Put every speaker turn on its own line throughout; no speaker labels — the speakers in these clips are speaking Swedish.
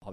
Har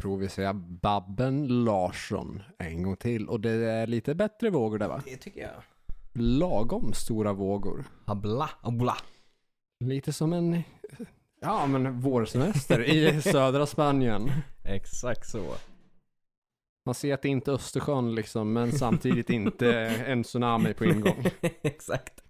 Provisera Babben Larsson en gång till. Och det är lite bättre vågor där va?
Det tycker jag.
Lagom stora vågor.
Abla, abla.
Lite som en, ja men vårsemester i södra Spanien.
Exakt så.
Man ser att det inte är Östersjön liksom, men samtidigt inte en tsunami på ingång.
Exakt.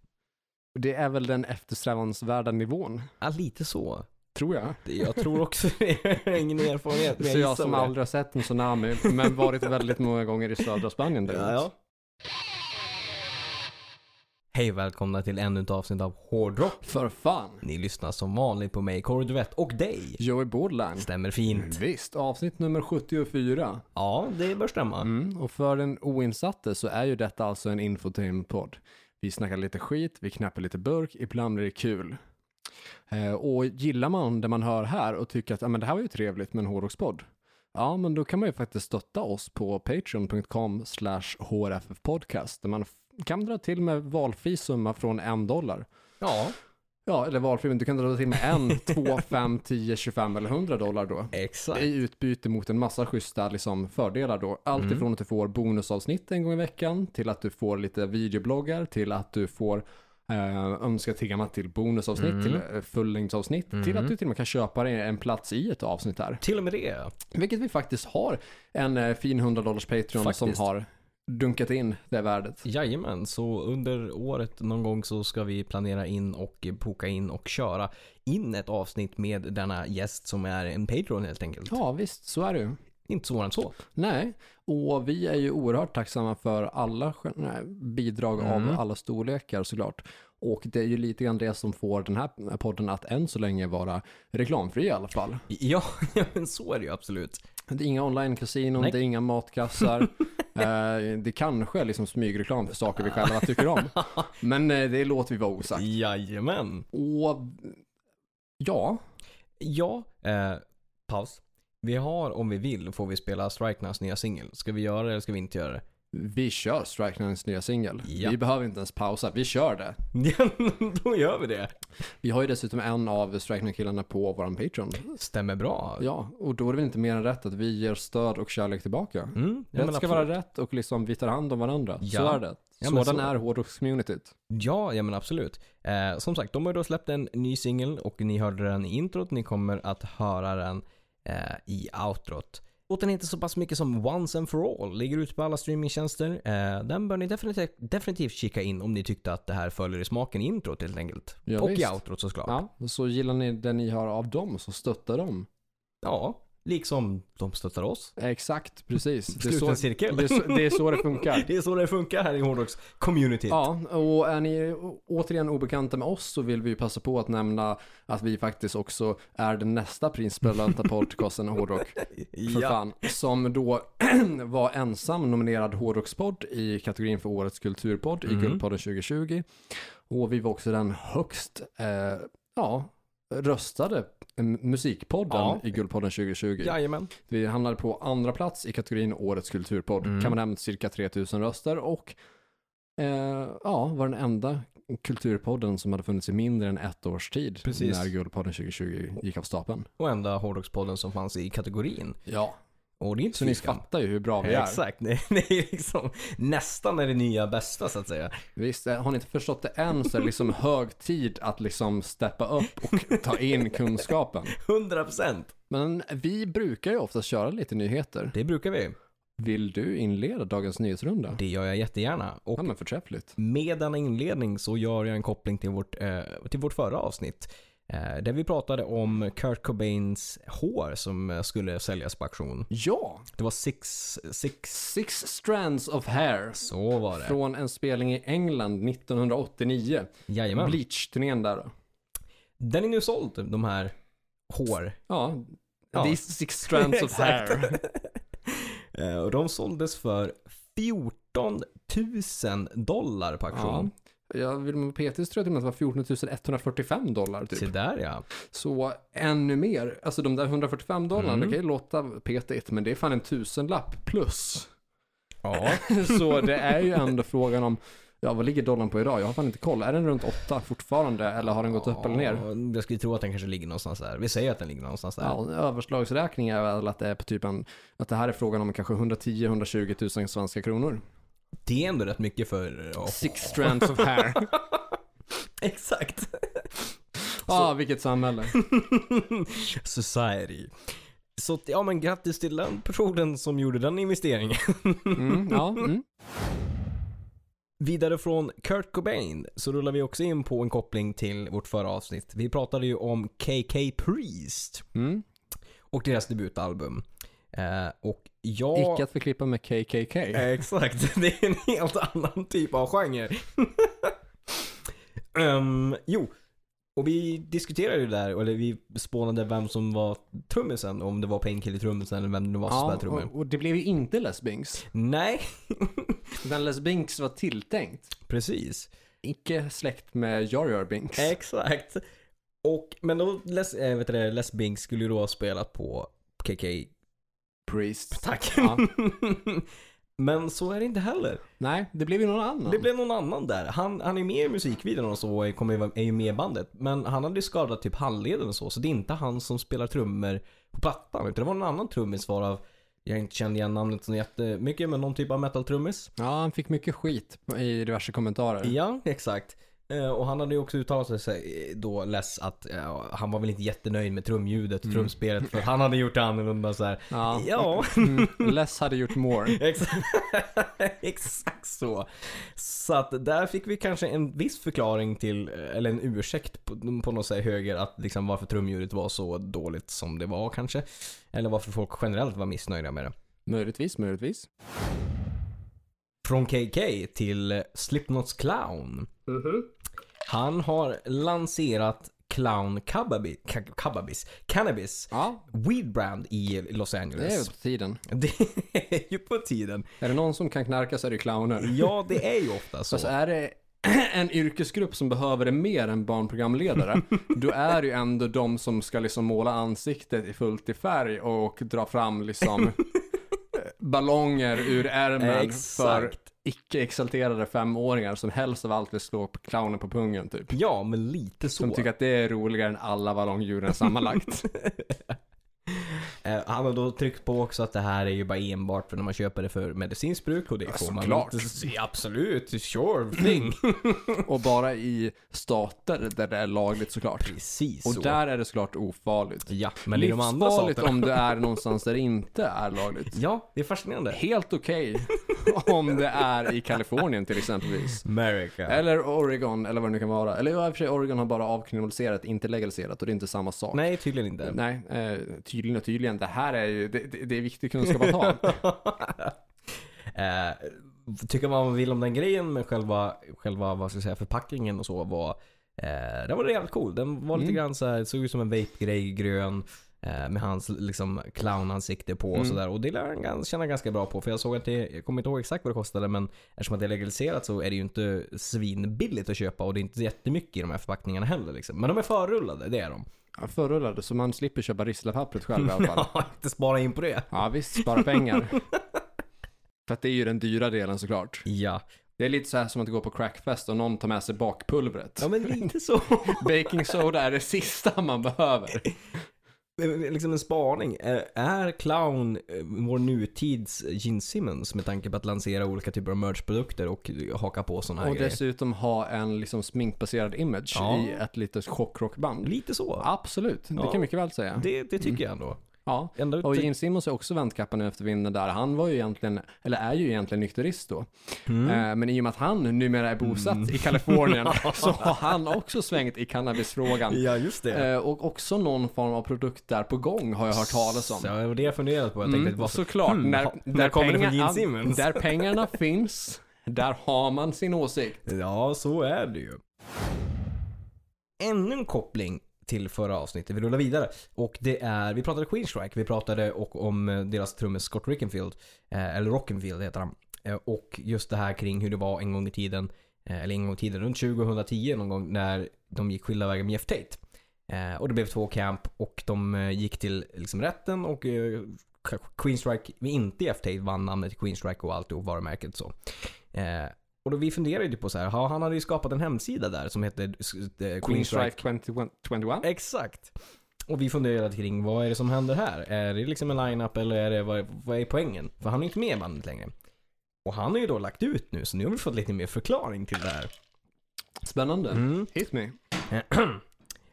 Och Det är väl den eftersträvansvärda nivån,
Ja, lite så.
tror jag.
Det- Jag tror också det. Jag har ingen erfarenhet, men
Så jag
gissar
som
på det.
aldrig har sett en tsunami, men varit väldigt många gånger i södra Spanien däremot.
Ja, ja. Hej och välkomna till ännu ett avsnitt av Hårdrock.
För fan!
Ni lyssnar som vanligt på mig, Kåre Duvett, och dig.
Joey Bordline.
Stämmer fint.
Visst, avsnitt nummer 74.
Ja, det bör stämma.
Mm, och för den oinsatte så är ju detta alltså en infotainmentpodd. Vi snackar lite skit, vi knäpper lite burk, ibland blir det kul. Eh, och gillar man det man hör här och tycker att ah, men det här var ju trevligt med en hårdrockspodd. Ja, men då kan man ju faktiskt stötta oss på patreon.com slash hrffpodcast där man f- kan dra till med valfri summa från en dollar.
Ja,
Ja, eller valfri, men du kan dra till med en, två, fem, tio, tjugofem eller hundra dollar då.
exakt.
I utbyte mot en massa schyssta liksom, fördelar då. Allt
Mm.
ifrån att du får bonusavsnitt en gång i veckan, till att du får lite videobloggar, till att du får eh, önska temat till bonusavsnitt,
Mm.
till eh, fullängdsavsnitt, till att du till och med kan köpa dig en plats i ett avsnitt här.
Till och med det.
Vilket vi faktiskt har en eh, fin 100 dollars Patreon som
Faktiskt.
har dunkat in det värdet.
Jajamän, så under året någon gång så ska vi planera in och boka in och köra in ett avsnitt med denna gäst som är en Patreon helt enkelt.
Ja, visst, så är det ju.
Inte svårare än så.
Nej, och vi är ju oerhört tacksamma för alla gen- nej, bidrag
Mm.
av alla storlekar såklart. Och det är ju lite grann det som får den här podden att än så länge vara reklamfri i alla fall.
Ja, ja men så är det ju absolut.
Det är inga online-kasinon,
Nej.
det är inga matkassar. eh, det kanske är liksom smygreklam för saker vi själva tycker om. Men eh, det låter vi vara osagt.
Jajamän.
Och ja,
Ja, eh, paus. Vi har om vi vill får vi spela Striknas nya singel. Ska vi göra det eller ska vi inte göra det?
vi kör Strike Nines nya singel.
Ja.
Vi behöver inte ens pausa, vi kör det.
Ja, då gör vi det.
Vi har ju dessutom en av Strike Nine-killarna på vår Patreon.
Stämmer bra.
Ja, och då är det väl inte mer än rätt att vi ger stöd och kärlek tillbaka.
Mm, ja,
rätt
men
ska
absolut.
vara rätt och liksom vi tar hand om varandra. Så
Ja.
är det.
Ja, men
Sådan
så.
är hårdrockscommunityt.
Ja, ja men absolut. Eh, som sagt, de har ju då släppt en ny singel och ni hörde den i introt. Ni kommer att höra den eh, i outrot. Låten heter så pass mycket som Once and for all. Ligger ute på alla streamingtjänster. Eh, den bör ni definitivt, definitivt kika in om ni tyckte att det här följer i smaken i introt helt enkelt.
Ja,
och i
visst.
outrot såklart. Ja.
Ja, och så gillar ni det ni har av dem så stöttar dem.
liksom de stöttar oss.
Exakt, precis. Det är, så,
Sluten cirkel.
det, är så, det är så det funkar.
Det är så det funkar här i Hårdrocks community.
Ja, och är ni å- återigen obekanta med oss så vill vi ju passa på att nämna att vi faktiskt också är den nästa prisbelönta podcasten Hårdrock. för
ja.
fan. Som då var ensam nominerad hårdrockspodd i kategorin för årets kulturpodd i
Mm.
Guldpodden 2020. Och vi var också den högst eh, ja, röstade m- musikpodden
Ja.
i Guldpodden 2020.
Jajamän.
Vi hamnade på andra plats i kategorin årets kulturpodd.
Mm.
Kan man nämna cirka 3000 röster och eh, ja, var den enda kulturpodden som hade funnits i mindre än ett års tid
Precis.
när Guldpodden 2020 gick av stapeln.
Och enda Hårdrockspodden som fanns i kategorin.
Ja,
Och det är inte
så ni
fy skam.
fattar ju hur bra vi är.
Exakt, det det är liksom nästan är det nya bästa så att säga.
Visst, eh, har ni inte förstått det än så är det liksom hög tid att liksom steppa upp och ta in kunskapen.
100%!
Men vi brukar ju ofta köra lite nyheter.
Det brukar vi.
Vill du inleda dagens nyhetsrunda?
Det gör jag jättegärna. Och
Ja men förträffligt.
med denna inledning så gör jag en koppling till vårt, eh, till vårt förra avsnitt. Eh, Där vi pratade om Kurt Cobains hår som eh, skulle säljas på auktion.
Ja!
Det var six, six.
Six strands of hair.
Så var det.
Från en spelning i England 1989.
Jajamän.
Bleach-turnén där då.
Den är nu såld, de här hår.
Ja,
Ja.
these six strands of
Exakt.
hair.
Eh, Och de såldes för 14 000 dollar på
Ja.
auktion.
Jag vill med Petrus tror jag till och med att det var 14 145 dollar
Se
typ.
där ja.
Så ännu mer. Alltså de där 145 dollarna,
Mm.
det kan ju låta petigt, men det är fan en tusenlapp plus.
Ja,
Så det är ju ändå frågan om, ja vad ligger dollarn på idag? Jag har fan inte koll. Är den runt 8 fortfarande eller har den gått upp eller ner?
Ja, Jag skulle tro att den kanske ligger någonstans där. Vi säger att den ligger någonstans där.
Ja, en överslagsräkning är väl att det är på typ en, att det här är frågan om kanske 110-120 000 svenska kronor.
Det är ändå rätt mycket för... ja.
Six strands of hair.
Exakt.
Ja, ah, vilket samhälle.
Society. Så att, ja men grattis till den personen som gjorde den investeringen.
Mm, ja, mm.
Vidare från Kurt Cobain så rullar vi också in på en koppling till vårt förra avsnitt. Vi pratade ju om KK Priest
Mm.
och deras debutalbum. Eh, och jag...
Icke att förklippa med KKK.
Eh, Exakt, det är en helt annan typ av genre. Ehm, jo, och vi diskuterade ju där, eller vi spånade vem som var trummisen. Om det var Painkiller-trummisen eller vem det var som spelade
Ja,
trummor.
och, och det blev ju inte Les Binks.
Nej,
Men Les Binks var tilltänkt.
precis.
Icke släkt med Jar Jar Binks.
Exakt. Och, men då, Les, äh, vet du det, Les Binks skulle ju då ha spelat på KK.
Priest.
Tack.
Ja.
men så är det inte heller.
Nej, det blev ju någon annan.
Det blev någon annan där. Han, han är med i musikvideon och så och kommer, ju vara- är ju med i bandet. Men han hade ju skadat typ handleden och så. Så det är inte han som spelar trummor på plattan. Utan det var någon annan trummis varav jag inte kände igen namnet så jättemycket. Men någon typ av metal-trummis.
Ja, han fick mycket skit i diverse kommentarer.
Ja, exakt. Eh, Och han hade ju också uttalat sig eh, då less att eh, han var väl inte jättenöjd med trumljudet och trumspelet för att han hade gjort det annorlunda så här.
Ja.
ja.
Mm, less hade gjort more.
Exakt, exakt så. Så att där fick vi kanske en viss förklaring till, eller en ursäkt på, på något sätt höger att liksom varför trumljudet var så dåligt som det var kanske. Eller varför folk generellt var missnöjda med det.
Möjligtvis, möjligtvis.
Från KK till eh, Slipknots Clown.
Mm-hmm.
Han har lanserat Clown Cababi- Ca- Cababis, Cannabis,
Ja,
Weed Brand i Los
det är väl
Angeles.
på tiden.
Det är ju på tiden.
Är det någon som kan knarka så är det clowner.
Ja, det är ju ofta så.
Alltså är det en yrkesgrupp som behöver det mer än barnprogramledare, då är det ju ändå de som ska liksom måla ansiktet i fullt i färg och dra fram liksom ballonger ur ärmen för
Exakt.
icke-exalterade femåringar som helst av allt vill slå på clownen på pungen typ.
Ja, men lite så.
Som tycker att det är roligare än alla ballongdjuren sammanlagt.
Eh, Han har då tryckt på också att det här är ju bara enbart för när man köper det för medicinskt bruk och det får man
såklart.
inte se. Absolut, sure thing.
och bara i stater där det är lagligt såklart.
Precis så.
Och där är det såklart ofarligt.
Ja, men i de andra
Livsfarligt
sakerna.
om det är någonstans där det inte är lagligt.
Ja, det är fascinerande.
helt okej om det är i Kalifornien till exempelvis.
America.
Eller Oregon, eller vad det nu kan vara. Eller ja, i och för sig, Oregon har bara avkriminaliserat, inte legaliserat och det är inte samma sak.
Nej, tydligen inte.
Nej, eh, tydligen och tydligen. Det här är ju, det, det, det är viktig kunskap att ha.
Eh, tycker man vad man vill om den grejen, men själva, själva vad ska jag säga, förpackningen och så var... Eh, den var jävligt cool. Den var lite
Mm.
grann så här, såg ut som en vape-grej, grön. Eh, med hans liksom clownansikte på och
Mm.
sådär. Och det lär han gans- känna ganska bra på. För jag såg att det, jag kommer inte ihåg exakt vad det kostade men eftersom att det är legaliserat så är det ju inte svinbilligt att köpa och det är inte jättemycket i de här förpackningarna heller. Liksom. Men de är förrullade, det är de.
Ja, Förrullade, så man slipper köpa risslapappret själv i alla fall.
Ja, inte spara in på det.
Ja visst, spara pengar. För att det är ju den dyra delen såklart.
Ja.
Det är lite så här som att gå på crackfest och någon tar med sig bakpulvret.
Ja men lite så.
Baking soda är det sista man behöver.
liksom en spaning. Eh, Är clown eh, vår nutids Gene Simmons med tanke på att lansera olika typer av merchprodukter och haka på sådana här
Och
grejer?
dessutom ha en liksom sminkbaserad image
Ah, Ja.
i ett litet chockrockband.
Lite så.
Absolut, det
Ja.
kan jag mycket väl säga.
Det, det tycker jag ändå.
Ja,
Ända ut
och
till-
Gene Simmons är också vänt kappan efter vinden där. Han var ju egentligen, eller är ju egentligen nykterist då.
Mm.
Eh, Men i och med att han numera är bosatt i Kalifornien så har han också svängt i cannabisfrågan.
Ja, just det.
Eh, Och också någon form av produkt där på gång har jag hört talas om.
Så det var det jag funderade på. Jag tänkte,
Mm,
vad så...
såklart.
hmm,
när,
ha- när kommer det från
pengar-
Gene Simmons?
Där pengarna finns, där har man sin åsikt.
Ja, så är det ju. Ännu en koppling till förra avsnittet. Vi rullar vidare. Och det är, vi pratade Queensryche, vi pratade och om eh, deras trummis Scott Rickenfield. Eh, eller Rockenfield heter han. Eh, och just det här kring hur det var en gång i tiden. Eh, eller en gång i tiden, runt 2010 någon gång när de gick skilda vägar med Jeff Tate. Eh, och det blev två camp och de eh, gick till liksom, rätten och eh, Queensryche, men inte Jeff Tate, vann namnet Queensryche och alltihop varumärket så. Eh, och då vi funderade ju på så här, ha, han hade ju skapat en hemsida där som hette eh, Queensryche.
Queenstrike 21.
Exakt. Och vi funderade kring vad är det som händer här? Är det liksom en line-up eller är det, vad, vad är poängen? För han är ju inte med i bandet längre. Och han har ju då lagt ut nu så nu har vi fått lite mer förklaring till det här.
Spännande.
Mm.
Hit me.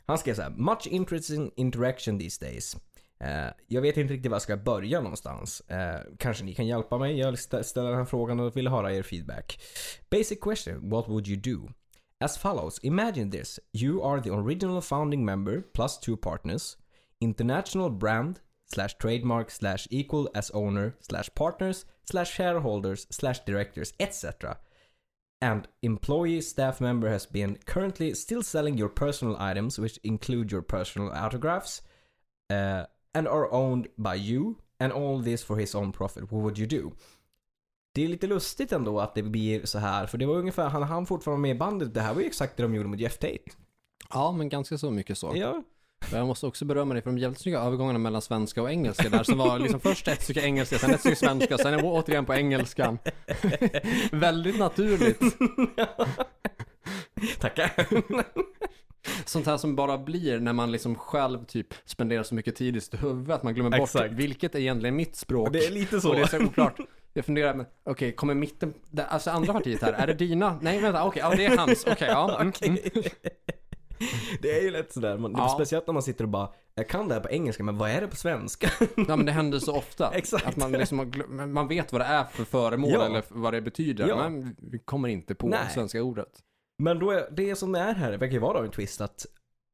Han skrev så här. Much interesting interaction these days. Eh, jag vet inte riktigt var jag ska börja någonstans. Eh, kanske ni kan hjälpa mig? Jag stä- ställer den här frågan och vill höra er feedback. Basic question. What would you do? As follows. Imagine this. You are the original founding member plus two partners. International brand slash trademark slash equal as owner slash partners slash shareholders slash directors etc. and employee staff member has been currently still selling your personal items which include your personal autographs uh, and are owned by you and all this for his own profit what would you do Det är lite lustigt ändå att det blir så här för det var ungefär han han fortfarande med i bandet det här var ju exakt det de gjorde mot Jeff Tate.
Ja, men ganska så mycket så.
Ja.
Jag måste också berömma dig för de jävligt snygga övergångarna mellan svenska och engelska där som var liksom först ett stycke engelska, sen ett stycke svenska, sen å- återigen på engelskan. Väldigt naturligt.
Tackar.
Sånt här som bara blir när man liksom själv typ spenderar så mycket tid i sitt huvud att man glömmer bort
Exakt.
vilket är egentligen mitt språk.
Det är lite så.
Och det är så oklart. Jag funderar, men okej, kommer mitten, det- alltså andra partiet här, är det dina? Nej, vänta, okej, ja det är hans, okej, ja. Mm, mm.
Det är ju lätt sådär, man,
Ja.
speciellt när man sitter och bara Jag kan det här på engelska men vad är det på svenska?
Ja men det händer så ofta.
Exakt.
Att man, liksom har glö- men man vet vad det är för föremål
Ja.
eller vad det betyder.
Ja.
Men vi kommer inte på
Nej.
svenska ordet.
Men då är, det som är här verkar ju vara då en twist att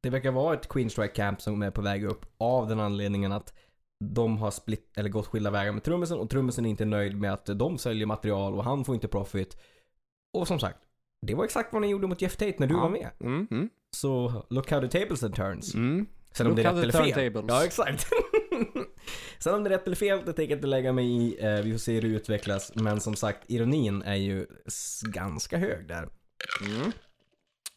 det verkar vara ett Queen Strike Camp som är på väg upp av den anledningen att de har splitt, eller gått skilda vägar med trummisen och trummisen är inte nöjd med att de säljer material och han får inte profit. Och som sagt, det var exakt vad ni gjorde mot Jeff Tate när du
Ja.
var med.
Mm. Mm.
Så look how the tables and turns.
Mm.
Sen om
Look
det är
how
rätt
the
eller fel.
turntables.
Ja, exakt. Sen om det är rätt eller fel, det tänker jag inte lägga mig i. Eh, Vi får se hur det utvecklas. Men som sagt, ironin är ju s- ganska hög där.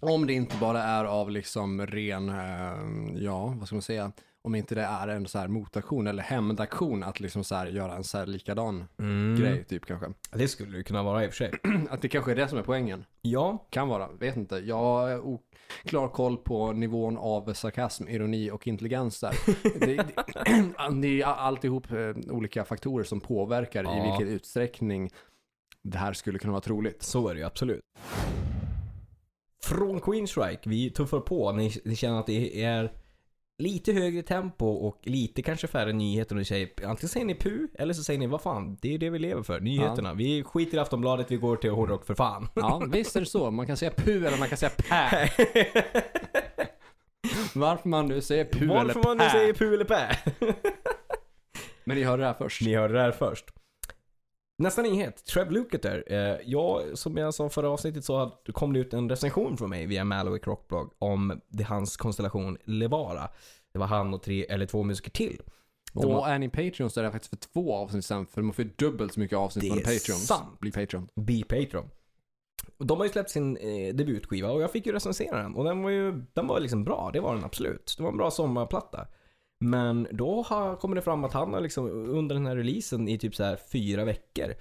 Om det inte bara är av liksom ren, eh, ja vad ska man säga, om inte det är en så här motaktion eller hämndaktion att liksom så här göra en så här likadan grej typ kanske.
Det skulle det kunna vara i och för sig.
Att det kanske är det som är poängen.
Ja,
Kan vara, vet inte. Jag har oklar koll på nivån av sarkasm, ironi och intelligens där. Det, det, det är alltihop eh, olika faktorer som påverkar i
Ja.
vilken utsträckning det här skulle kunna vara troligt.
så är det ju absolut. Från Queensryche, vi tuffar på. Ni, ni känner att det är lite högre tempo och lite kanske färre nyheter. Och ni säger, antingen säger ni pu eller så säger ni vad fan, det är det vi lever för. Nyheterna. Vi skiter i Aftonbladet, vi går till hårdrock för fan.
Ja, visst är det så. Man kan säga pu eller man kan säga pä. Varför man nu säger pu eller
Varför man nu
pä.
säger pu eller pä.
Men ni hörde det här först.
Ni hörde det här först. Nästa nyhet, Trev Luketer. Eh, jag, som jag sa förra avsnittet så hade- kom det ut en recension från mig via Mallowick Rockblog om det, hans konstellation Levara. Det var han och tre eller två musiker till. De
Och
har-
är ni Patreons så är det faktiskt för två avsnitt sen, för de får ju dubbelt så mycket avsnitt
Det
från
är
Patreons.
sant.
Bli Patreon.
Be Patreon. Och de har ju släppt sin eh, debutskiva och jag fick ju recensera den. Och den var ju den var liksom bra, det var den absolut. Det var en bra sommarplatta. Men då har, kommer det fram att han har liksom under den här releasen i typ så här fyra veckor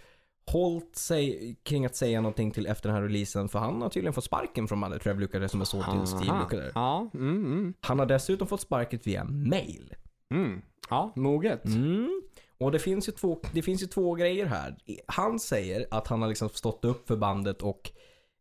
hållt sig kring att säga någonting till efter den här releasen. För han har tydligen fått sparken från bandet Trev Lucare som är så till Steve
Aha.
Lukather.
Ja, mm, mm,
Han har dessutom fått sparket via mail.
mm. Ja, moget.
Mm. Och det finns, ju två, det finns ju två grejer här. Han säger att han har liksom stått upp för bandet och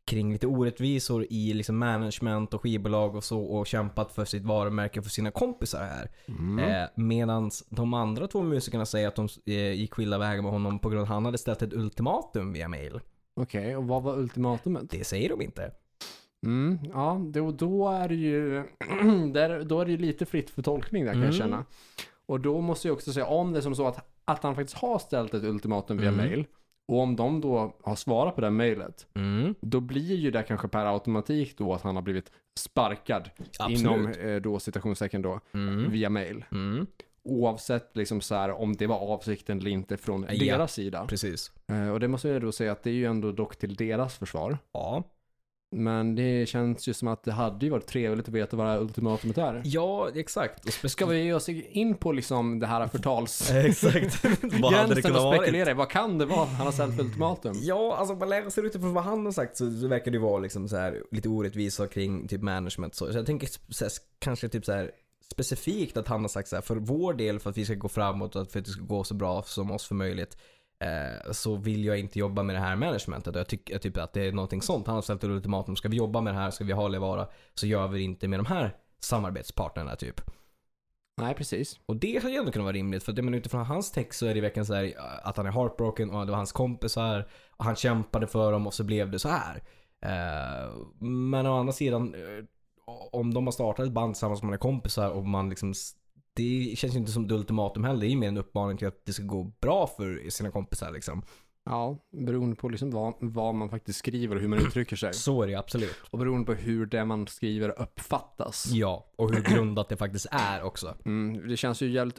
kring lite orättvisor i liksom management och skivbolag och så och kämpat för sitt varumärke för sina kompisar här.
Mm.
Eh, Medan de andra två musikerna säger att de eh, gick skilda vägar med honom på grund av att han hade ställt ett ultimatum via mail.
Okej, och vad var ultimatumet?
Det säger de inte.
Mm, ja, då, då är det ju där, då är det ju lite fritt för tolkning där kan jag
Mm.
känna. Och då måste jag också säga om det är som så att, att han faktiskt har ställt ett ultimatum via
Mm.
mail och om de då har svarat på det här mejlet,
Mm,
då blir ju det kanske per automatik då att han har blivit sparkad
absolut.
inom eh, då citationstecken då
Mm,
via mail.
mm,
Oavsett liksom så här om det var avsikten eller inte från
Ja.
deras sida.
precis.
Eh, och det måste jag då säga att det är ju ändå dock till deras försvar.
Ja.
Men det känns ju som att det hade ju varit trevligt att veta vad det här ultimatumet är.
ja, exakt. Och
Ska vi ge oss in på liksom det här förtals...
Exakt. Eh, Vad hade det
Gränsen
kunnat
att
vara?
spekulera i, vad kan det vara han har ställt för ultimatum?
Ja, alltså man lär sig utifrån vad han har sagt så, så verkar det vara liksom så här, lite orättvisa kring typ management. Så, så jag tänker så här, kanske typ så här, specifikt att han har sagt så här, för vår del för att vi ska gå framåt och för att det ska gå så bra som oss för möjligt eh, så vill jag inte jobba med det här managementet. Och Jag tycker typ att det är någonting sånt. Han har ställt ett ultimatum. Ska vi jobba med det här, ska vi ha Levara, så gör vi det inte med de här samarbetspartnerna typ.
Nej, precis.
Och det hade ju ändå kunnat vara rimligt för att jag menar, utifrån hans text så är det verkligen så här eh, att han är heartbroken och det var hans kompisar och han kämpade för dem och så blev det så här. Eh, men å andra sidan, eh, om de har startat ett band tillsammans med sina kompisar och man liksom s- det känns ju inte som ett ultimatum heller. Det är ju mer en uppmaning till att det ska gå bra för sina kompisar liksom.
Ja, beroende på liksom vad, vad man faktiskt skriver och hur man uttrycker sig.
Så är det ju absolut.
Och beroende på hur det man skriver uppfattas.
Ja, och hur grundat det faktiskt är också.
Mm, det känns ju jävligt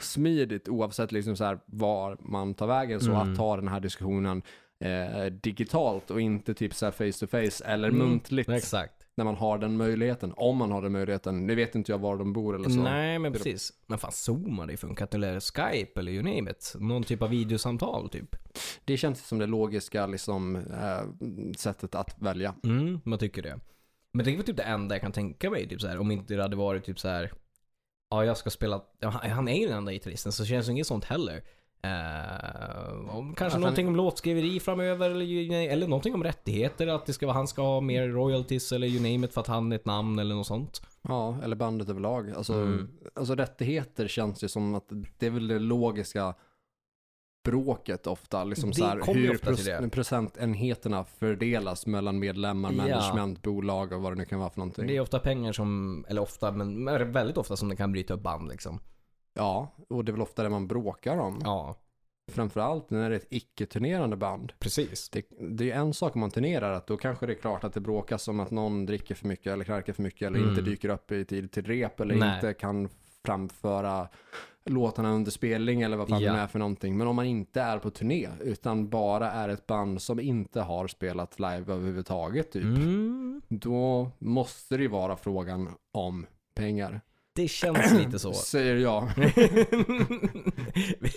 osmidigt oavsett liksom så här var man tar vägen. Så
Mm.
att ta den här diskussionen eh, digitalt och inte typ så här face to face eller
Mm,
muntligt
Exakt.
när man har den möjligheten. Om man har den möjligheten. Nu vet inte jag var de bor eller så.
Nej, men precis. Men fan, Zoom hade ju funkat. Eller Skype eller you name it. Någon typ av videosamtal typ.
Det känns som det logiska liksom, eh, sättet att välja.
Mm, man tycker det. Men det är väl typ det enda jag kan tänka mig. Typ så här, om inte det hade varit typ så här. Ja, jag ska spela. ja, Han han är ju den enda gitarristen så det känns ju inget sånt heller. Eh, om, kanske
han-
någonting om låtskriveri framöver eller, ju- nej, eller någonting om rättigheter. Att det ska vara, han ska ha mer royalties eller you name it för att han är ett namn eller något sånt.
Ja, eller bandet överlag. Alltså,
Mm.
alltså rättigheter känns ju som att det är väl det logiska bråket ofta. Liksom
Det
så här,
kommer ju
hur
ofta till det.
procentenheterna fördelas mellan medlemmar,
Ja.
management, bolag och vad det nu kan vara för någonting.
Det är ofta pengar som, eller ofta, men men väldigt ofta som det kan bryta upp band liksom.
Ja, och det är väl ofta det man bråkar om.
Ja,
Framförallt när det är ett icke-turnerande band.
precis.
Det, det är ju en sak om man turnerar, att då kanske det är klart att det bråkas om att någon dricker för mycket eller knarkar för mycket eller
Mm.
inte dyker upp i tid till rep eller
Nej.
inte kan framföra låtarna under spelning eller vad fan
Ja.
det är för någonting. Men om man inte är på turné utan bara är ett band som inte har spelat live överhuvudtaget typ,
Mm,
då måste det ju vara frågan om pengar.
det känns lite så.
Säger jag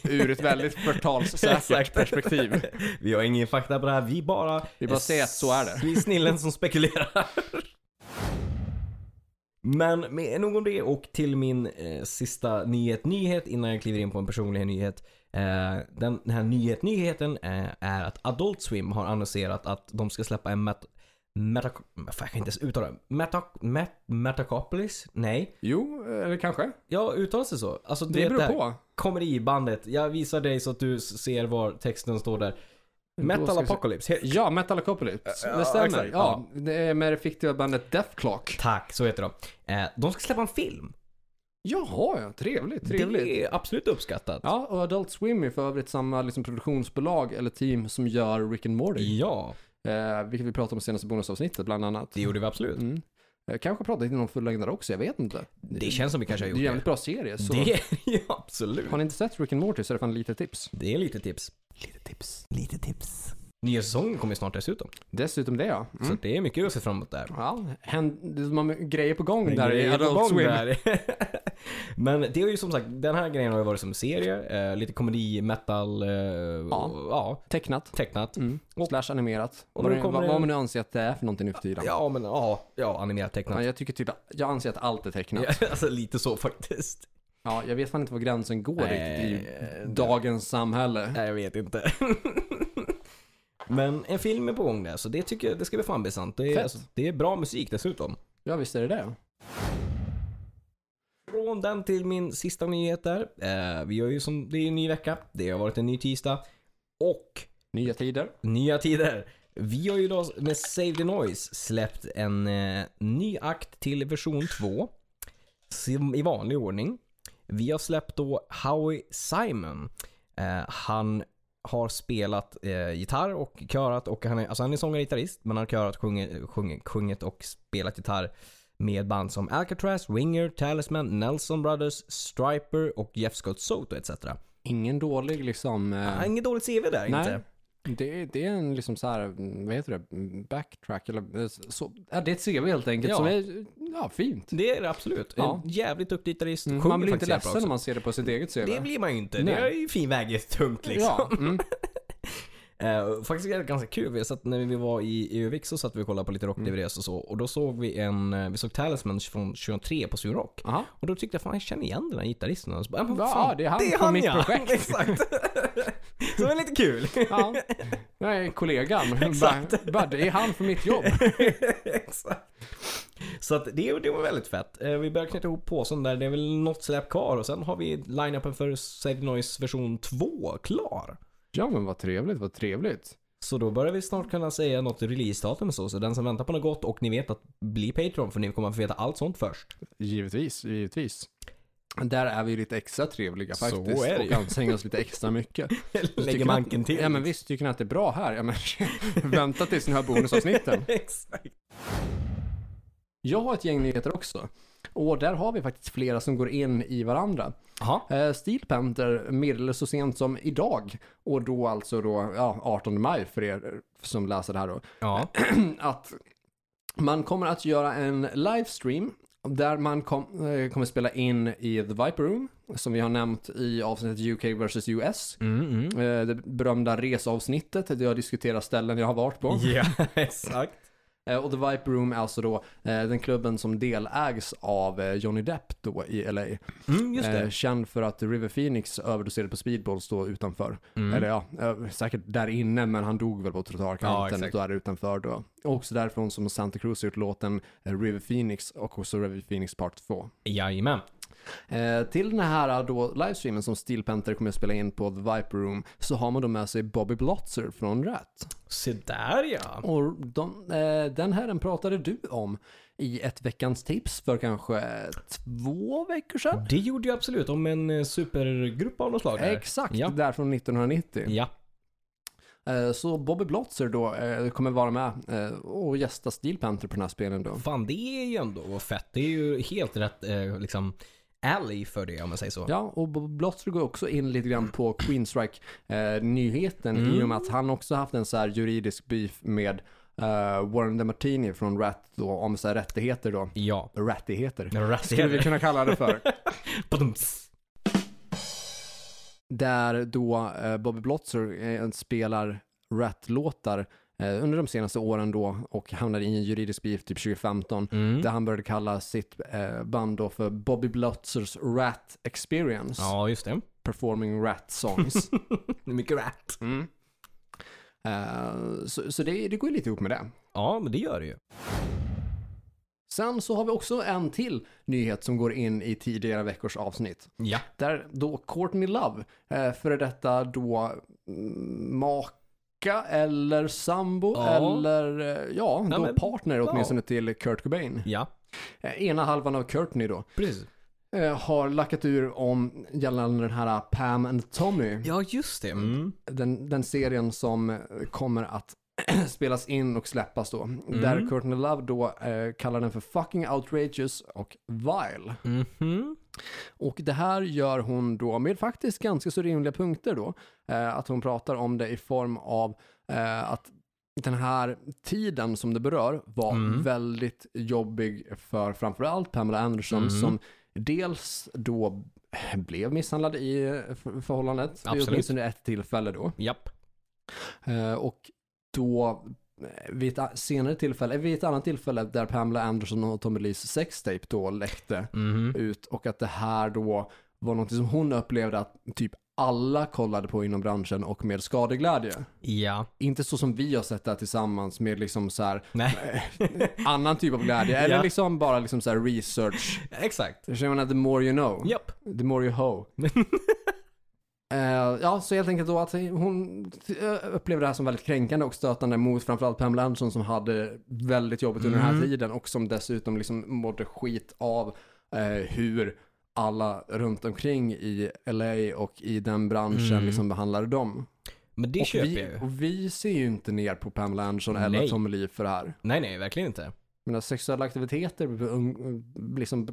ur ett väldigt förtalssäkert
Exakt.
perspektiv.
vi har ingen fakta på det här, vi bara...
Vi bara säger att så är det.
Vi är snillen som spekulerar. Men med nog om det och till min eh, sista nyhet, nyhet innan jag kliver in på en personlig nyhet. Eh, den, den här nyhet, nyheten eh, är att Adult Swim har annonserat att de ska släppa en met- meta... Fan, jag kan inte ens uttala det. Meta... Met, metacopolis? Nej.
Jo, eller kanske.
Ja, uttalas det så? Alltså, du
Det
vet
beror
här-
på.
komedibandet. Jag visar dig så att du s- ser var texten står där.
Då
Metal
ska vi se.
Apocalypse. He-
Ja, Metalocapolis.
Ja,
det stämmer.
exakt.
Ja, det är med det fiktiva bandet Death Clock.
Tack, så heter de. Eh, de ska släppa en film.
Jaha, ja. Trevligt, trevligt.
Det är absolut uppskattat.
Ja, och Adult Swim är för övrigt samma liksom, produktionsbolag eller team som gör Rick and Morty.
Ja,
Eh, vilket vi pratade om i senaste bonusavsnittet bland annat.
det gjorde vi absolut.
Mm. Eh, kanske pratat i någon fullängdare också, jag vet inte.
Det känns som vi kanske
det
har
är en
gjort det.
jävligt bra serie. Så
Det är ju absolut.
Har ni inte sett Rick and Morty så är det fan lite tips.
Det är lite tips.
Lite tips.
Lite tips. Nya säsongen kommer ju snart dessutom.
Dessutom det ja. Mm.
Så det är mycket att se fram emot där.
Ja, händ, det är många grejer på gång
Det är
där i
grejer på
Adult
gång
Swim.
där. Men det är ju som sagt, den här grejen har ju varit som serie. Eh, lite komedi, metal, eh, ja.
Tecknat.
tecknat.
Mm. Slash animerat.
Och
vad,
nu
det-
kommer
vad,
det-
vad man nu anser att det är för någonting nu för tiden.
Ja, men ja, ja animerat
Men
tecknat.
jag tycker typ, jag anser att allt är tecknat.
Ja, alltså lite så faktiskt.
Ja, jag vet fan inte var gränsen går
Nej,
riktigt i
eh,
dagens samhälle.
Nej, jag vet inte. Men en film är på gång där, så det tycker jag, det ska bli fan bli sant. Det är,
Fett.
alltså, det är bra musik dessutom.
Ja, visst är det det.
Från den till min sista nyhet där. Eh, vi gör ju som, det är en ny vecka. Det har varit en ny tisdag. Och
Nya tider.
nya tider. Vi har ju då med Save the Noise släppt en eh, ny akt till version 2. Som I vanlig ordning. Vi har släppt då Howie Simon. Eh, han har spelat eh, gitarr och körat och han är, alltså han är sångare och gitarrist men han har körat, sjungit, sjungit, sjungit och spelat gitarr med band som Alcatraz, Winger, Talisman, Nelson Brothers, Striper och Jeff Scott Soto etc.
Ingen dålig liksom... eh,
Han har Inget dåligt CV där
Nej.
inte.
Det, det är en liksom så här, mm, vad heter det, Mm, backtrack eller eh, så. Ja, det är ett CV helt enkelt
Ja.
som är, ja, fint.
Det är det absolut.
Ja.
En jävligt duktig gitarrist.
Mm,
Sjunger
Man blir inte
faktiskt jävla
ledsen
bra
när man ser det på sitt eget CV.
också. Det blir man ju inte.
Nej.
Det är ju fin vägetungt liksom.
Ja, mm.
Eh, faktiskt är det ganska kul. Vi satt, när vi var i Övik så satt vi och kollade på
Mm.
lite rock-DVDs och så. Och då såg vi en, eh, vi såg Talisman från 2003 på Sur Rock.
Aha.
Och då tyckte jag fan jag känner igen den här gitarristen. Och så bara, men
Ja,
fan,
det är han från mitt projekt.
Exakt. så det var lite kul.
Ja. Nej, kollegan.
Exakt.
Bara, bara, det är han för mitt jobb.
Exakt. Så att det, det var väldigt fett. Eh, Vi börjar knyta ihop påsen där. Det är väl något släpp kvar och sen har vi line-upen för Save the Noise version 2 klar.
Ja, men vad trevligt, vad trevligt.
Så då börjar vi snart kunna säga något releasedatum och så. Så den som väntar på något gott och ni vet att bli Patreon för ni kommer att få veta allt sånt först.
Givetvis, givetvis. Där är vi ju lite extra trevliga
Så
faktiskt.
är det ju.
Och anstränger oss lite extra mycket. Tycker
Lägger
ni
manken
att,
till.
Ja men visst, tycker ni att det är bra här? Ja, men, vänta tills ni hör bonusavsnitten.
Exakt.
Jag har ett gäng nyheter också. Och där har vi faktiskt flera som går in i varandra.
Ja.
Eh, Steel Panther meddelades så sent som idag. Och då alltså då, ja, 18 maj för er som läser det här då.
Ja.
att man kommer att göra en livestream där man kom, eh, kommer spela in i The Viper Room som vi har nämnt i avsnittet UK vs US.
Mm, mm.
Eh, Det berömda reseavsnittet där jag diskuterar ställen jag har varit på.
Ja, exakt.
Eh, Och The Viper Room är alltså då eh, den klubben som delägs av eh, Johnny Depp då i LA.
Mm, just
Eh,
det.
Känd för att River Phoenix överdoserade på speedballs då utanför.
Mm.
Eller ja, eh, säkert där inne men han dog väl på
Ja,
trottoarkanten
exakt.
och då är det utanför då. Och också därifrån som Santa Cruz gjort låten eh, River Phoenix och också River Phoenix Part 2.
Jajamän.
Eh, till den här då livestreamen som Steel Panther kommer att spela in på The Viper Room så har man då med sig Bobby Blotzer från Rat.
Se där ja.
Och de, eh, den herren pratade du om i ett veckans tips för kanske två veckor sedan.
Det gjorde jag absolut. Om en eh, supergrupp av något slag. där.
Exakt,
Eh, Ja.
där från 1990.
Ja.
Eh, Så Bobby Blotzer då eh, kommer vara med eh, och gästa Steel Panther på den här spelen då.
Fan, det är ju ändå fett. Det är ju helt rätt eh, liksom alley för det om man säger så.
Ja, och Bobby Blotzer går också in lite grann på Queenstrike-nyheten i och med att han också haft en så här juridisk beef med eh, Warren DeMartini från Rat då, om så här rättigheter då.
Ja.
Rättigheter, skulle vi
Rastigare.
kunna kalla det för. Där då eh, Bobby Blotzer eh, spelar Rat-låtar eh, under de senaste åren då och hamnade i en juridisk beef typ 2015
Mm.
där han började kalla sitt eh, band då för Bobby Blotzers Rat Experience,
Ja, just det.
performing Rat Songs.
Mycket rat.
mm. Eh, så så det, det går ju lite ihop med det.
Ja, men det gör det ju.
Sen så har vi också en till nyhet som går in i tidigare veckors avsnitt.
Ja.
Där då Courtney Love, eh, före detta då mm, maka eller sambo
Ja.
eller eh, ja,
Nej,
då
men-
partner
ja.
åtminstone till Kurt Cobain.
Ja,
Eh, ena halvan av Courtney då.
precis.
eh, har lackat ur om gällande den här eh, Pam and Tommy.
Ja, just det. Mm.
Den, den serien som eh, kommer att spelas in och släppas då.
Mm.
Där Courtney Love då eh, kallar den för fucking outrageous och vile.
Mhm.
Och det här gör hon då med faktiskt ganska så rimliga punkter då. Eh, att hon pratar om det i form av eh, att den här tiden som det berör var
Mm.
väldigt jobbig för framförallt Pamela Anderson
Mm.
som dels då blev misshandlad i eh, för- förhållandet. vid
Absolut.
Åtminstone ett tillfälle då.
Japp.
Eh, och då eh, vid ett a- senare tillfälle, eh, vid ett annat tillfälle där Pamela Anderson och Tommy Lees sextape då läckte
Mhm.
ut och att det här då var någonting som hon upplevde att typ alla kollade på inom branschen och med skadeglädje.
Ja.
Inte så som vi har sett det här tillsammans med liksom så här,
Nej.
annan typ av glädje. Eller
Ja.
liksom bara liksom så här research.
Exakt.
Jag menar, the more you know.
Japp.
The more you hoe. Eh, ja, så helt enkelt då att hon eh, upplevde det här som väldigt kränkande och stötande mot framförallt Pamela Anderson som hade väldigt jobbigt under den här
Mm.
tiden och som dessutom liksom mådde skit av eh, hur alla runt omkring i LA och i den branschen
Mm.
liksom behandlade dem.
Men det
och,
köper jag
vi,
ju.
och vi ser ju inte ner på Pamela Anderson eller
Nej.
Tommy Lee för det här.
Nej, nej, verkligen inte.
Mina sexuella aktiviteter um, liksom,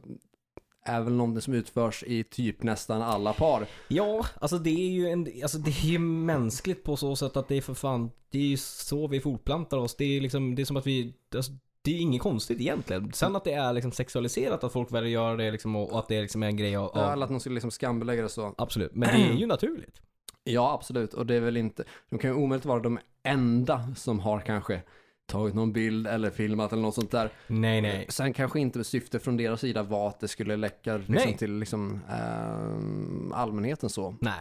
är väl någonting som utförs i typ nästan alla par.
Ja, alltså det är ju en, alltså det är ju mänskligt på så sätt att det är för fan, det är ju så vi fortplantar oss. Det är liksom, det är som att vi, alltså, det är inget konstigt egentligen. Sen att det är liksom sexualiserat, att folk väljer att göra det liksom och, och att det liksom är en grej av,
Ja. Eller
av
att de skulle liksom skambelägga det så.
absolut. Men det är ju naturligt.
Ja, absolut. Och det är väl inte, de kan ju omöjligt vara de enda som har kanske tagit någon bild eller filmat eller något sånt där.
Nej, nej.
Sen kanske inte syftet från deras sida var att det skulle läcka liksom
Nej.
till liksom, ehm, allmänheten så.
Nej.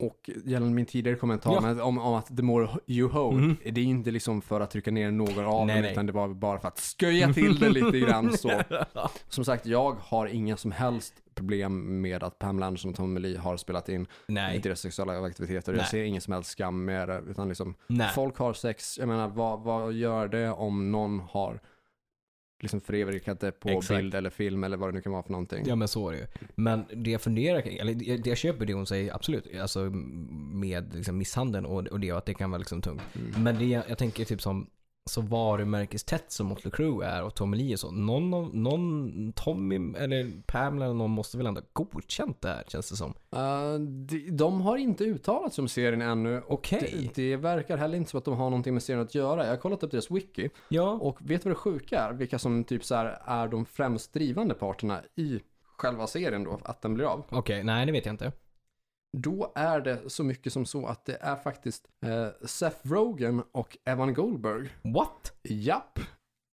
Och gällande min tidigare kommentar
Ja.
med, om, om att the more you hoe,
Mhm.
det är ju inte liksom för att trycka ner någon av
Nej,
dem,
nej.
utan det var bara för att sköja till det lite grann så. Som sagt, jag har inga som helst problem med att Pamela Anderson och Tommy Lee har spelat in
Nej.
deras sexuella aktiviteter. Jag
Nej.
ser ingen som helst skam med det. Utan liksom,
Nej.
folk har sex, jag menar vad, vad gör det om någon har liksom förevigat det på
Exakt.
bild eller film eller vad det nu kan vara för någonting.
Ja men så är det ju. Men det jag funderar kring, eller det det jag köper det hon säger absolut, alltså med liksom misshandeln och, och det och att det kan vara liksom tungt.
Mm.
Men det jag, jag tänker typ som så varumärkestätt som Motley Crue är och Tommy Lee och så. Någon, av- någon Tommy eller Pamela eller någon måste väl ändå ha godkänt det här känns det som.
Eh, de, de har inte uttalat sig om serien ännu. och
Okej.
Det, det verkar heller inte som att de har någonting med serien att göra. Jag har kollat upp deras wiki.
Ja.
Och vet du vad det sjuka är? Vilka som typ så här är de främst drivande parterna i själva serien då, att den blir av.
Okej, nej det vet jag inte.
Då är det så mycket som så att det är faktiskt eh, Seth Rogen och Evan Goldberg.
What?
Japp.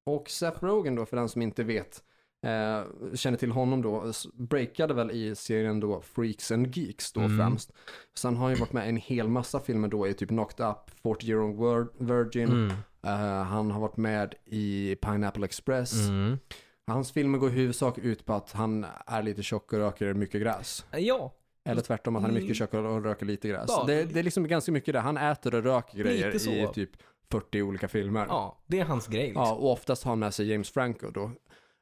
Och Seth Rogen då, för den som inte vet, eh, känner till honom då, s- breakade väl i serien då Freaks and Geeks då
Mm.
främst. Sen har han ju varit med i en hel massa filmer då i typ Knocked Up, 40 Year Old Vir- Virgin,
Mm.
eh, han har varit med i Pineapple Express.
Mm.
Hans filmer går i huvudsak ut på att han är lite tjock och röker mycket gräs.
Ja,
Eller tvärtom att han är mycket
Mm.
tjockare och röker lite gräs.
Ja,
det, det är liksom ganska mycket det. Han äter och röker
Lite
grejer
så.
i typ 40 olika filmer.
ja, det är hans grej liksom.
Ja, och oftast har han med sig James Franco då.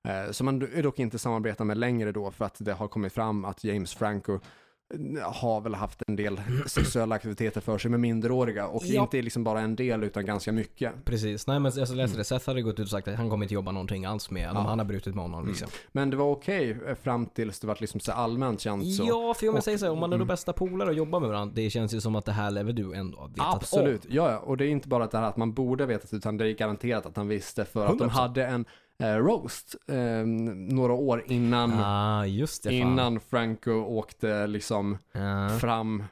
Eh, som han do- dock inte samarbetar med längre då för att det har kommit fram att James Franco eh, har väl haft en del sexuella aktiviteter för sig med minderåriga och
Ja.
inte liksom bara en del utan ganska mycket.
Precis, nej men alltså, jag läste det. Seth hade gått ut och sagt att han kommer inte jobba någonting alls med honom.
Mm. Ja.
Han har brutit med honom liksom.
Men det var okej eh, fram tills det vart liksom så allmänt känt så.
Ja, för om
Och-
jag säger så här, om man är då
mm.
bästa polare och jobbar med varandra, det känns ju som att det här lever du ändå har vetat om.
Absolut, ja, ja. Och det är inte bara det här att man borde ha vetat utan det är garanterat att han visste för att de
100%.
hade en eh, roast eh, några år innan,
Ah, just det. Fan.
innan Franco åkte liksom
Ja.
fram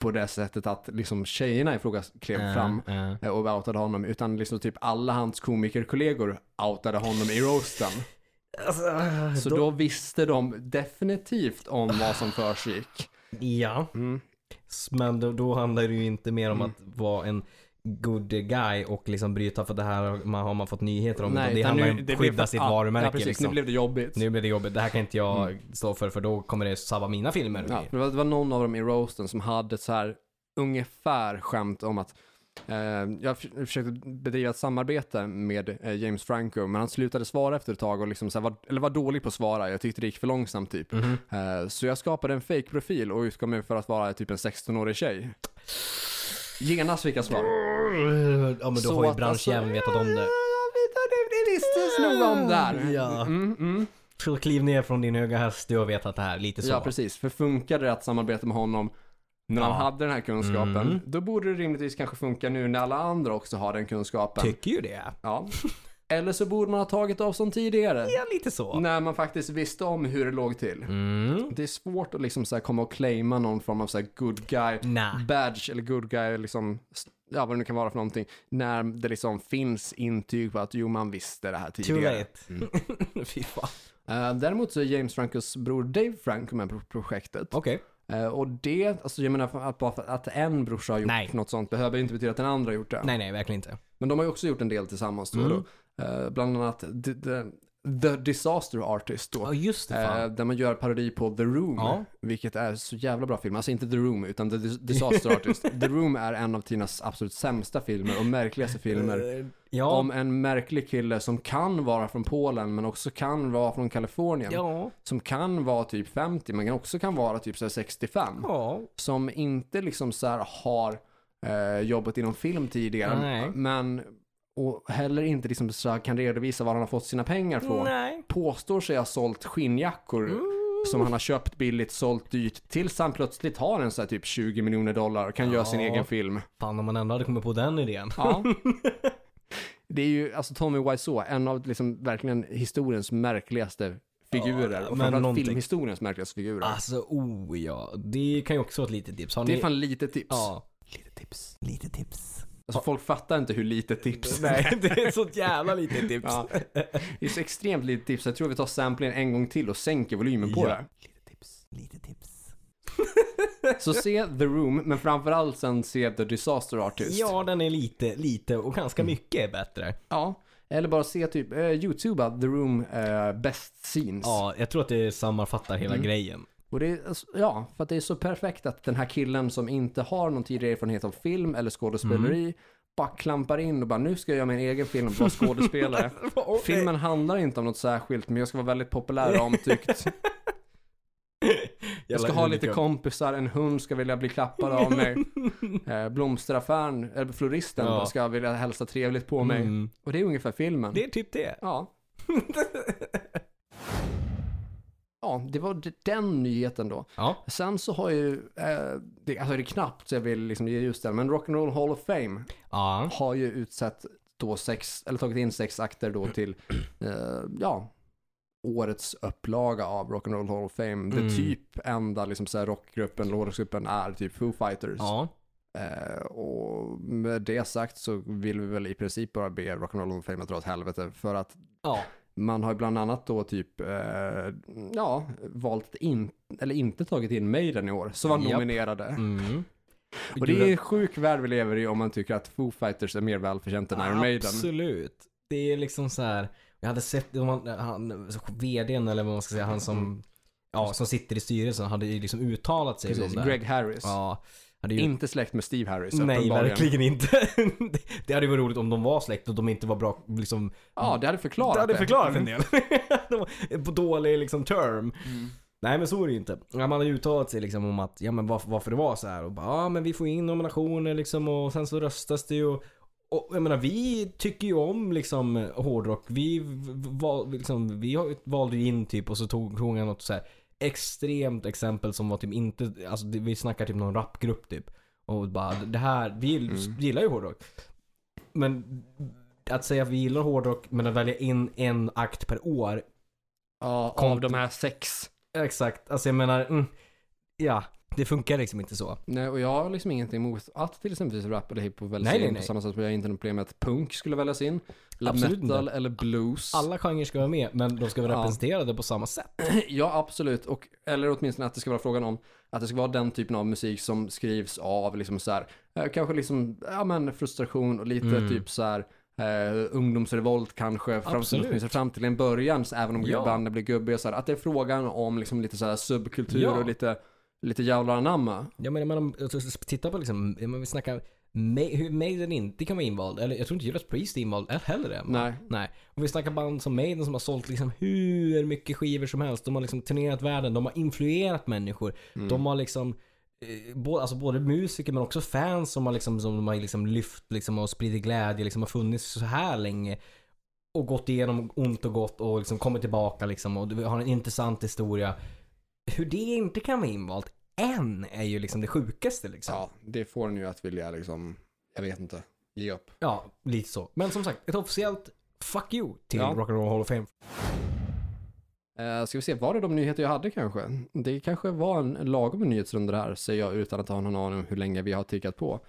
på det sättet att liksom tjejerna i fråga klev
Ja,
fram
ja.
eh, och outade honom utan liksom typ alla hans komikerkollegor outade honom i roasten.
Alltså,
Så då, visste de definitivt om vad som försiggick.
Ja,
Mm.
men då, då handlar det ju inte mer om
Mm.
att vara en good guy och liksom bryta för det här har man, har man fått nyheter om. Nej, det
utan
handlar ju
nu-
om
det
att
blev-
skydda sitt
ja,
varumärke
Ja, precis. Nu
liksom.
blev det jobbigt.
Nu blir det jobbigt. Det här kan inte jag stå för för då kommer det sabba mina filmer.
Ja, det var, det var någon av dem i roasten som hade ett så här ungefär skämt om att eh, jag för- försökte bedriva ett samarbete med eh, James Franco, men han slutade svara efter ett tag och liksom så här var, eller var dålig på att svara. Jag tyckte det gick för långsamt typ.
Mhm.
Eh, så jag skapade en fake profil och utgav mig för att vara typ en 16-årig tjej. Genast fick jag svar.
Ja men då
Så
har ju
att
branschjäveln
alltså-
vetat om det.
Ja, vi tar det- det visste nog om det här.
Ja.
Mm, mm.
Så kliv ner från din höga häst, du har vetat det här. Lite typ så.
Ja, precis. För funkade det att samarbeta med honom när han
Ja.
hade den här kunskapen,
Mm.
då borde det rimligtvis kanske funka nu när alla andra också har den kunskapen.
Tycker ju det.
ja. Eller så borde man ha tagit avstånd tidigare,
Ja, lite så.
när man faktiskt visste om hur det låg till.
Mm.
Det är svårt att liksom så här komma och claima någon form av så här good guy
Nah.
badge eller good guy, liksom, ja vad det nu kan vara för någonting, när det liksom finns intyg på att jo, man visste det här
Too
tidigare.
late. Fy fan.
Mm. Eh, Däremot så är James Francos bror Dave Franco med på projektet.
Okej.
Eh, och det, alltså jag menar att bara för att en brorsa har gjort
Nej.
något sånt behöver inte betyda att den andra har gjort det.
Nej, nej, verkligen inte.
Men de har ju också gjort en del tillsammans tror jag då.
Mm.
Eh, bland annat The, the, the Disaster Artist då.
Ja, just det. Fan.
Eh, där man gör parodi på The Room,
Ja.
vilket är så jävla bra film. Alltså inte The Room, utan The Dis- Disaster Artist. The Room är en av Tinas absolut sämsta filmer och märkligaste filmer.
Eh, ja,
Om en märklig kille som kan vara från Polen, men också kan vara från Kalifornien.
ja,
Som kan vara typ 50, men också kan vara typ så här 65.
ja.
Som inte liksom så här har eh, jobbat inom film tidigare.
Nej.
Men, och heller inte liksom så här kan redovisa var han har fått sina pengar från
Nej.
påstår sig ha sålt skinnjackor som han har köpt billigt, sålt dyrt, tills han plötsligt har en så här typ 20 miljoner dollar och kan göra sin
Ja.
egen film.
Fan om man ändå hade kommit på den idén.
Ja. Det är ju, alltså Tommy Wiseau, en av liksom verkligen historiens märkligaste figurer. och
men
framförallt
någonting.
filmhistoriens märkligaste figurer.
Alltså, oh ja. Det kan ju också vara ett litet tips. Har
det är
ni...
fan lite tips.
Ja.
Lite tips.
Lite tips.
Alltså folk fattar inte hur lite tips det är.
Nej, det är så jävla litet tips.
Ja. Det är så extremt lite tips. Jag tror vi tar samplingen en gång till och sänker volymen på
Ja.
det.
Lite tips. Lite tips.
Så se The Room, men framförallt sen se The Disaster Artist.
Ja, den är lite, lite och ganska
Mm.
mycket är bättre.
Ja, eller bara se typ eh, YouTuba The Room eh, Best Scenes.
Ja, jag tror att det sammanfattar
Mm.
hela grejen.
Och det är, alltså, ja, för att det är så perfekt att den här killen som inte har någon tidigare erfarenhet av film eller skådespeleri
Mm.
bara klampar in och bara nu ska jag göra min egen film och vara skådespelare. Filmen handlar inte om något särskilt men jag ska vara väldigt populär och omtyckt. Jag ska ha lite kompisar, en hund ska vilja bli klappad av mig. Eh, blomsteraffären, eller floristen
Ja.
ska vilja hälsa trevligt på mig.
Mm.
Och det är ungefär filmen.
Det är typ det.
Ja. ja, det var d- den nyheten då.
Ja.
Sen så har ju, eh, det, alltså det är knappt så jag vill liksom ge just den, men Rock'n'Roll Hall of Fame
Ja.
har ju utsett då sex, eller tagit in sex akter då till, eh, ja, årets upplaga av Rock'n'Roll Hall of Fame. Det
Mm.
typ enda liksom så här rockgruppen, låtgruppen är typ Foo Fighters.
Ja.
Eh, och med det sagt så vill vi väl i princip bara be Rock'n'Roll Hall of Fame att dra åt helvete för att
Ja.
man har ju bland annat då typ, eh, ja, valt att in, eller inte tagit in Maiden i år, som var
Japp.
nominerade.
Mm.
Och det är en sjuk värld vi lever i om man tycker att Foo Fighters är mer välförtjänt än Iron Maiden.
Absolut. Det är liksom så här. Jag hade sett, de han, han, vdn eller vad man ska säga, han som, ja, som sitter i styrelsen hade ju liksom uttalat sig
Precis,
om det.
Greg Harris.
Ja. Hade ju,
Inte släkt med Steve Harris
nej,
uppenbarligen.
verkligen inte. Det- det hade ju varit roligt om de var släkt och de inte var bra, liksom.
Ja, det hade förklarat
Det
det.
hade förklarat en del. de var på dålig liksom term. Nej men så är det ju inte. Ja, man har ju uttalat sig liksom om att, ja men varför, varför det var så här och bara, ja men vi får in nominationer liksom och sen så röstas det ju. Och, och jag menar vi tycker ju om liksom hårdrock. Vi, v- val, liksom, vi har- valde ju in typ och så tog tog jag något så här extremt exempel som var typ inte, alltså det- vi snackar typ någon rapgrupp typ. Och bara det här, vi gill- gillar ju hårdrock. Men att säga att vi gillar hårdrock men att välja in en akt per år
Ja, av
Kom-
de här sex.
Exakt, alltså jag menar, mm, ja. Det funkar liksom inte så.
Nej, och jag har liksom ingenting emot att till exempel rap eller hiphop väljs
Nej,
in
nej,
på
nej.
samma sätt som jag inte har något problem med att punk skulle väljas in. Eller
Absolut
metal eller blues.
Alla genrer ska vara med, men de ska vara
Ja.
representerade på samma sätt.
Ja, absolut. Och, eller åtminstone att det ska vara frågan om att det ska vara den typen av musik som skrivs av liksom så här, eh, kanske liksom, ja men frustration och lite
Mm.
typ så här eh, ungdomsrevolt kanske, fram,
Absolut.
åtminstone fram till en början, så även om
Ja.
banden blir gubbiga så här, att det är frågan om liksom lite så här subkultur
Ja.
och lite, lite jävlar anamma.
Jag menar, men om, alltså, titta på liksom, jag menar, vi snackar Ma- hur Maiden inte kan vara invald, eller jag tror inte Judas Priest är invald eh, heller än.
Nej.
Nej. Och vi snackar band som Maiden som har sålt liksom hur mycket skivor som helst. De har liksom turnerat världen, de har influerat människor.
Mm.
De har liksom eh, Både, alltså både musiker men också fans som har, liksom, som de har liksom lyft liksom och spridit glädje, liksom har funnits så här länge. och gått igenom ont och gott och liksom kommit tillbaka liksom och du har en intressant historia. Hur det inte kan vara invalt än är ju liksom det sjukaste liksom.
Ja, det får en ju att vilja liksom, jag vet inte, ge upp.
Ja, lite så. Men som sagt, ett officiellt fuck you till
Ja.
Rock'n'Roll Hall of Fame.
Eh, ska vi se, var det de nyheter jag hade kanske? Det kanske var en lagom nyhetsrunda det här, säger jag utan att ha någon aning om hur länge vi har tickat på.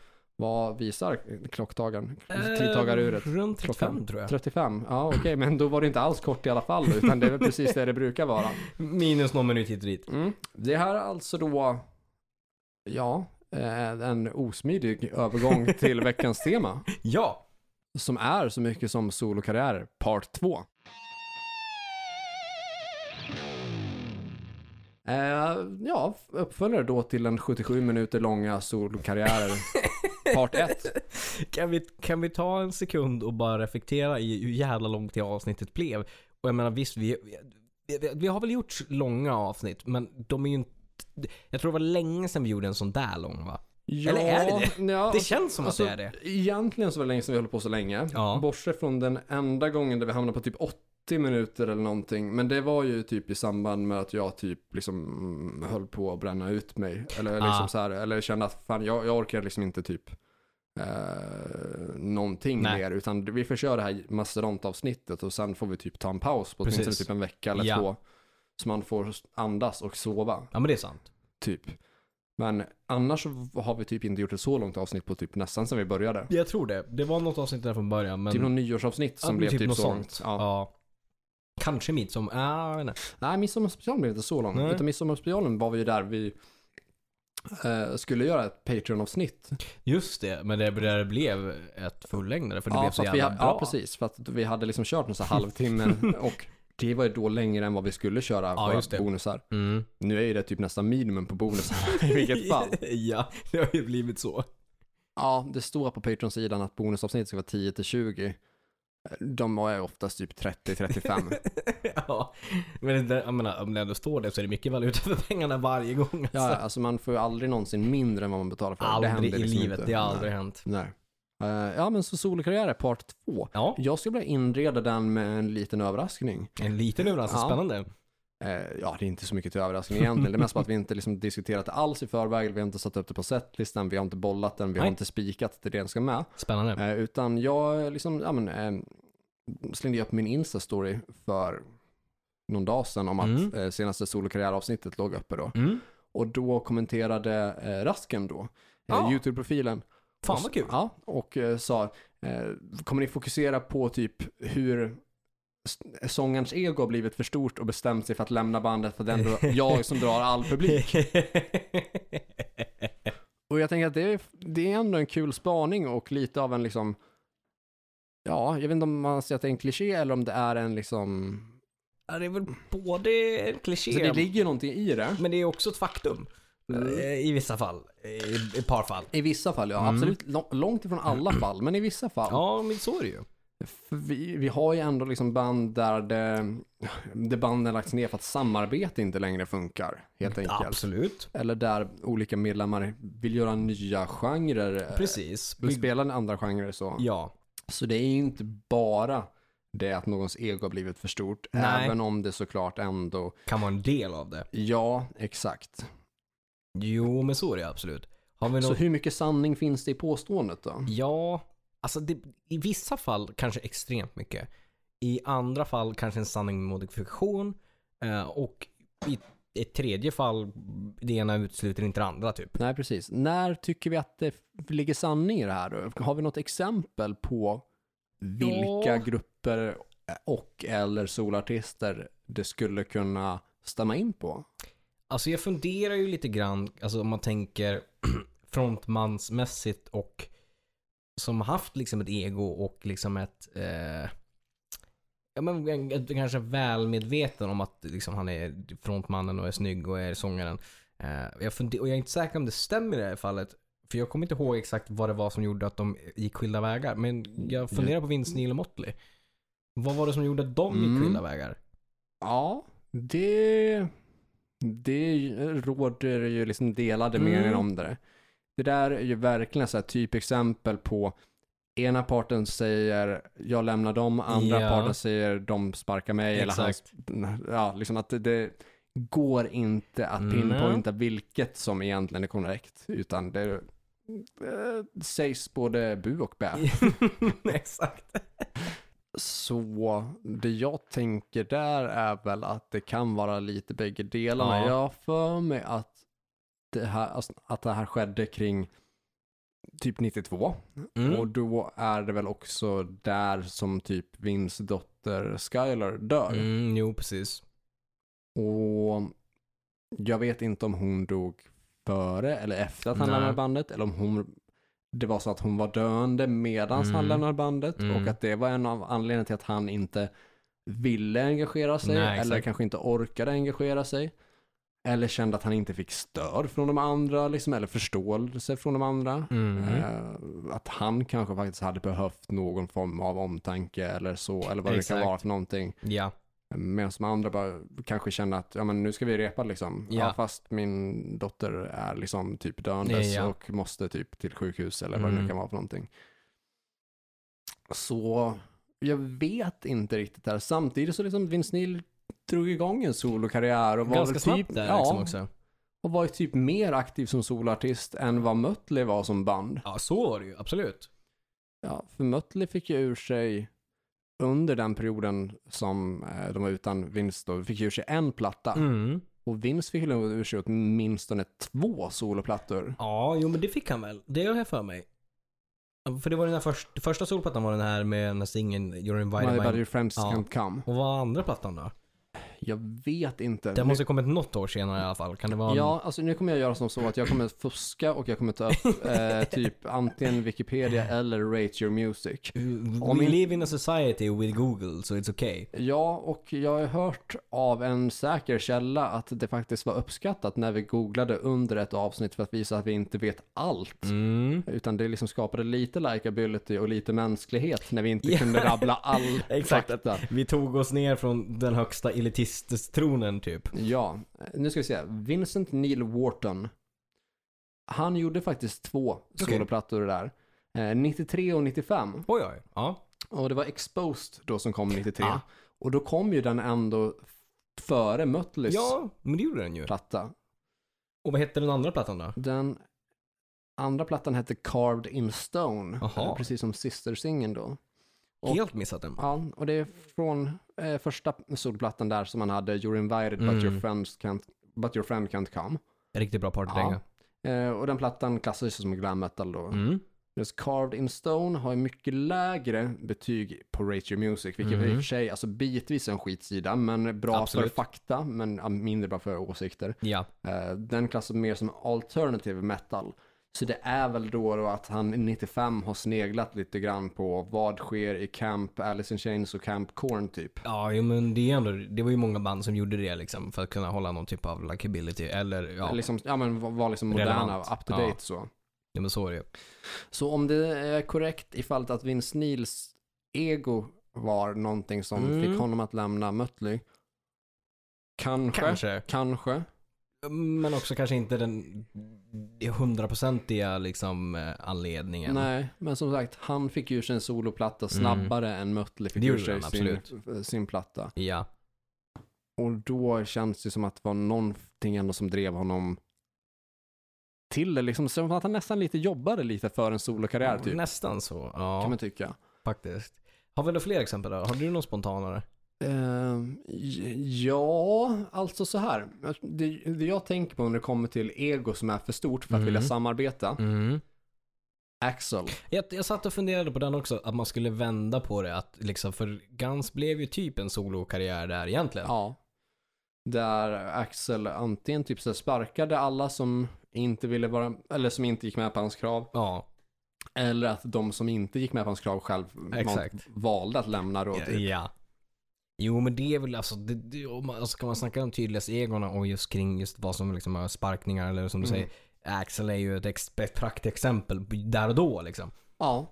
Vad visar klocktagaren? Tidtagaruret?
Eh, Runt 35
Klockan.
tror jag.
35? Ja, okej, men då var det inte alls kort i alla fall, utan det är väl precis det det brukar vara.
Minus någon minut hit och dit.
Mm. Det här är alltså då Ja, eh, en osmidig övergång till veckans tema.
Ja!
Som är så mycket som solokarriär part 2. Eh, ja, uppföljare då till den 77 minuter långa solokarriären part 1.
Kan vi, kan vi ta en sekund och bara reflektera i hur jävla långt det avsnittet blev? Och jag menar visst, vi, vi, vi har väl gjort långa avsnitt, men de är ju inte... Jag tror det var länge sedan vi gjorde en sån där lång va?
Ja,
Eller är det
Ja,
Det känns som
alltså,
att det är det.
Egentligen så var det länge sedan vi höll på så länge.
Ja.
Bortsett från den enda gången där vi hamnade på typ 80 minuter eller någonting. Men det var ju typ i samband med att jag typ liksom mm, höll på att bränna ut mig. Eller, liksom
Ah.
så här, eller kände att fan jag, jag orkar liksom inte typ eh, någonting
Nej.
mer. Utan vi får köra det här mastodontavsnittet och sen får vi typ ta en paus på åtminstone
Precis.
typ en vecka eller
Ja.
två. Så man får andas och sova
Ja men det är sant.
typ. Men annars så har vi typ inte gjort ett så långt avsnitt på typ nästan sen vi började.
Jag tror det. Det var något avsnitt där från början men...
Typ någon nyårsavsnitt som
Ja,
blev typ,
något
så långt. Ja.
Ja. Kanske mitt som... Ah, jag vet inte.
Nej, midsommarspecialen blev inte så lång.
Nej.
Utan midsommarspecialen var vi ju där vi eh, skulle göra ett Patreon-avsnitt.
Just det, men det, det blev ett fullängdare för det blev
Ja,
så
för att vi,
jävla
ha-
bra.
ja, precis. För att vi hade liksom kört en sån här halvtimme och det var ju då längre än vad vi skulle köra våra
just det.
bonusar.
Mm.
Nu är ju det typ nästan minimum på bonusar i vilket fall.
ja, det har ju blivit så.
Ja, det står på Patreon-sidan att bonusavsnitt ska vara 10-20. De har ju oftast typ 30-35.
ja, men det, där- jag menar, om det ändå står det så är det mycket valuta för pengarna varje gång. Alltså.
Ja, ja, alltså man får ju aldrig någonsin mindre än vad man betalar för. Det
aldrig
händer
i
liksom
livet,
inte.
det har aldrig hänt.
Nej. Nej. Eh, ja, men så solokarriär är part två.
Ja,
Jag skulle vilja inreda den med en liten överraskning.
en liten överraskning,
Ja.
spännande.
Eh, ja, det är inte så mycket till överraskning egentligen. Det är mest bara att vi inte liksom diskuterat det alls i förväg. Vi har inte satt upp det på setlistan, vi har inte bollat den, vi har
Nej.
inte spikat det den ska med.
Spännande.
Eh, utan jag liksom, ja, men, eh, slängde upp min Insta-story för någon dag sedan om att
Mm.
eh, senaste solokarriäravsnittet låg uppe då.
Mm.
Och då kommenterade eh, Rasken då, eh,
Ja.
YouTube-profilen.
Ah. Fan vad kul.
Ja, och eh, sa, eh, kommer ni fokusera på typ hur s- sångarens ego har blivit för stort och bestämt sig för att lämna bandet för den jag som drar all publik. Och jag tänker att det är, det är ändå en kul spaning och lite av en liksom, ja, jag vet inte om man säger att det är en kliché eller om det är en liksom,
Ja, det är väl både en kliché,
så det Mm. ligger någonting i det.
men det är också ett faktum. Eh, I vissa fall. I ett par fall.
I vissa fall, ja.
Mm.
Absolut. Lång- Långt ifrån alla fall, men i vissa fall.
Ja, men så är det ju.
För vi, vi har ju ändå liksom band där det, det banden lagts ner för att samarbete inte längre funkar, helt enkelt.
Absolut.
Eller där olika medlemmar vill göra nya genrer,
Precis.
eller
Vi-
spela andra genrer så.
Ja.
Så det är ju inte bara det att någons ego har blivit för stort,
Nej.
även om det såklart ändå,
kan vara en del av det.
ja, exakt.
Jo, men så är det absolut. Har vi
Så
någon...
hur mycket sanning finns det i påståendet då?
Ja, alltså det, i vissa fall kanske extremt mycket. I andra fall kanske en sanning med modifikation. Eh, och i ett tredje fall, det ena utesluter inte det andra typ.
Nej, precis. När tycker vi att det f- ligger sanning i det här då? Har vi något exempel på vilka
Ja.
grupper och eller solartister det skulle kunna stämma in på?
Alltså jag funderar ju lite grann, alltså om man tänker frontmansmässigt och som haft liksom ett ego och liksom ett eh, Ja men en- en- kanske välmedveten om att liksom han är frontmannen och är snygg och är sångaren. Eh, jag, funder- och jag är inte säker om det stämmer i det här fallet. För jag kommer inte ihåg exakt vad det var som gjorde att de gick skilda vägar. Men jag funderar på Vince Neil och Motley. Vad var det som gjorde att de
Mm.
gick skilda vägar?
Ja, det, det råder ju liksom delade
Mm.
meningar om det. Det där är ju verkligen så här typexempel på ena parten säger jag lämnar dem, andra
Ja.
parten säger de sparkar mig.
Exakt.
Eller han, ja, liksom att det, det går inte att
Nej.
pinpointa vilket som egentligen är korrekt. Utan det eh, sägs både bu och bä.
exakt.
Så det jag tänker där är väl att det kan vara lite bägge delarna.
Ja.
Jag har för mig att det här, alltså, att det här skedde kring typ 92.
Mm.
Och då är det väl också där som typ Vins dotter Skylar dör.
Mm, jo, precis.
Och jag vet inte om hon dog före eller efter att han
Nej.
lämnade bandet. Eller om hon, det var så att hon var döende medan han
Mm.
lämnade bandet.
Mm.
Och att det var en av anledningarna till att han inte ville engagera sig.
Nej,
eller
exakt.
kanske inte orkade engagera sig. Eller kände att han inte fick stöd från de andra. Liksom, eller förståelse från de andra.
Mm.
Eh, att han kanske faktiskt hade behövt någon form av omtanke eller så, eller vad det
Exakt.
kan vara för någonting.
Ja,
Medan de andra bara kanske känner att, ja men nu ska vi repa liksom. Ja.
Ja.
fast min dotter är liksom typ döendes
Ja, ja.
och måste typ till sjukhus eller vad det nu
Mm.
kan vara för någonting. Så jag vet inte riktigt där. Samtidigt så liksom Vince Neil drog igång en solokarriär och var
ganska
väl
snabbt
typ,
där
ja,
liksom också.
och var ju typ mer aktiv som soloartist än vad Mötley var som band.
Ja, så var det ju. Absolut.
Ja, för Mötley fick ju ur sig under den perioden som eh, de var utan Vince då, fick ju ur sig en platta.
Mm.
Och Vince fick ju ur sig åtminstone två soloplattor.
Ja, jo men det fick han väl. Det har jag för mig. För det var den här först, första solplattan var den här med den här singeln You're
My
invited
Body
by...
Your Friends
Ja.
Can't Come.
Och vad var andra plattan då?
Jag vet inte.
Den måste ha kommit något år senare i alla fall. Kan det vara...
nu, ja, alltså nu kommer jag göra som så att jag kommer fuska och jag kommer ta upp eh, typ antingen Wikipedia eller Rate Your Music.
We
Om in-
live in a society with Google, so it's okay.
Ja, och jag har hört av en säker källa att det faktiskt var uppskattat när vi googlade under ett avsnitt för att visa att vi inte vet allt.
Mm.
Utan det liksom skapade lite likability och lite mänsklighet när vi inte
Ja.
kunde rabbla all
Exakt.
fakta.
Vi tog oss ner från den högsta elitisttronen typ.
Ja, nu ska vi se. Vincent Neil Wharton. Han gjorde faktiskt två
Okej.
soloplattor där. Eh, 93 och 95.
Oj, oj. Ja.
Och det var Exposed då som kom 93.
Ah.
Och då kom ju den ändå före Mötleys
ja, men det gjorde den ju.
platta.
Och vad hette den andra plattan då?
Den andra plattan hette Carved in Stone, Eh,
Jaha.
precis som sistersingen då. Och-
Helt missat den.
Ja, och det är från eh, första solplattan där som han hade You're invited but,
Mm.
your friends can't, but your friend can't come.
Riktigt bra partydänga.
Eh, och den plattan klassas ju som glam metal då.
Mm.
Just Carved in Stone har ju mycket lägre betyg på Rate Your Music, vilket
Mhm.
i och för sig, alltså bitvis är en skitsida, men bra
Absolut.
för fakta, men ja, mindre bra för åsikter.
Ja.
Eh, Den klassas mer som alternative metal. Så det är väl då, då att han i 95 har sneglat lite grann på vad sker i Camp Alice in Chains och Camp Corn typ.
Ja, jo, men det, är ändå, det var ju många band som gjorde det liksom för att kunna hålla någon typ av likability eller ja,
Liksom, ja men var- var liksom moderna,
Relevant.
up to date
Ja.
så.
ja men så är det ju.
Så om det är korrekt i fallet att Vince Neils ego var någonting som
Mm.
fick honom att lämna Mötley. Kanske, kanske.
Kanske. Men också kanske inte den hundraprocentiga liksom eh, anledningen.
Nej, men som sagt, han fick ju sin soloplatta snabbare än Mötley fick
Mm. Det
ju
gjorde
sig
han,
sin, eh, sin platta.
Ja.
Och då känns det som att det var någonting ändå som drev honom till det. Liksom, som att han nästan lite jobbade lite för en solokarriär typ,
Nästan så.
kan
Ja,
man tycka.
faktiskt. Har vi några fler exempel då? Har du någon spontanare?
Ehm, j- ja, alltså så här. Det, det jag tänker på när det kommer till ego som är för stort för att
Mm.
vilja samarbeta. Axel.
Jag, jag satt och funderade på den också, att man skulle vända på det. Att liksom, för Guns blev ju typ en solokarriär där egentligen.
Ja. Där Axel antingen typ så här sparkade alla som inte ville vara, eller som inte gick med på hans krav.
ja.
Eller att de som inte gick med på hans krav själv
Exakt.
valde att lämna då. Typ.
Ja. Jo men det är väl alltså, det, det, om man, alltså, ska man snacka om tydligaste egorna och just kring just vad som liksom är sparkningar eller som du
Mm.
säger. Axel är ju ett, ex, ett praktexempel där och då liksom.
Ja.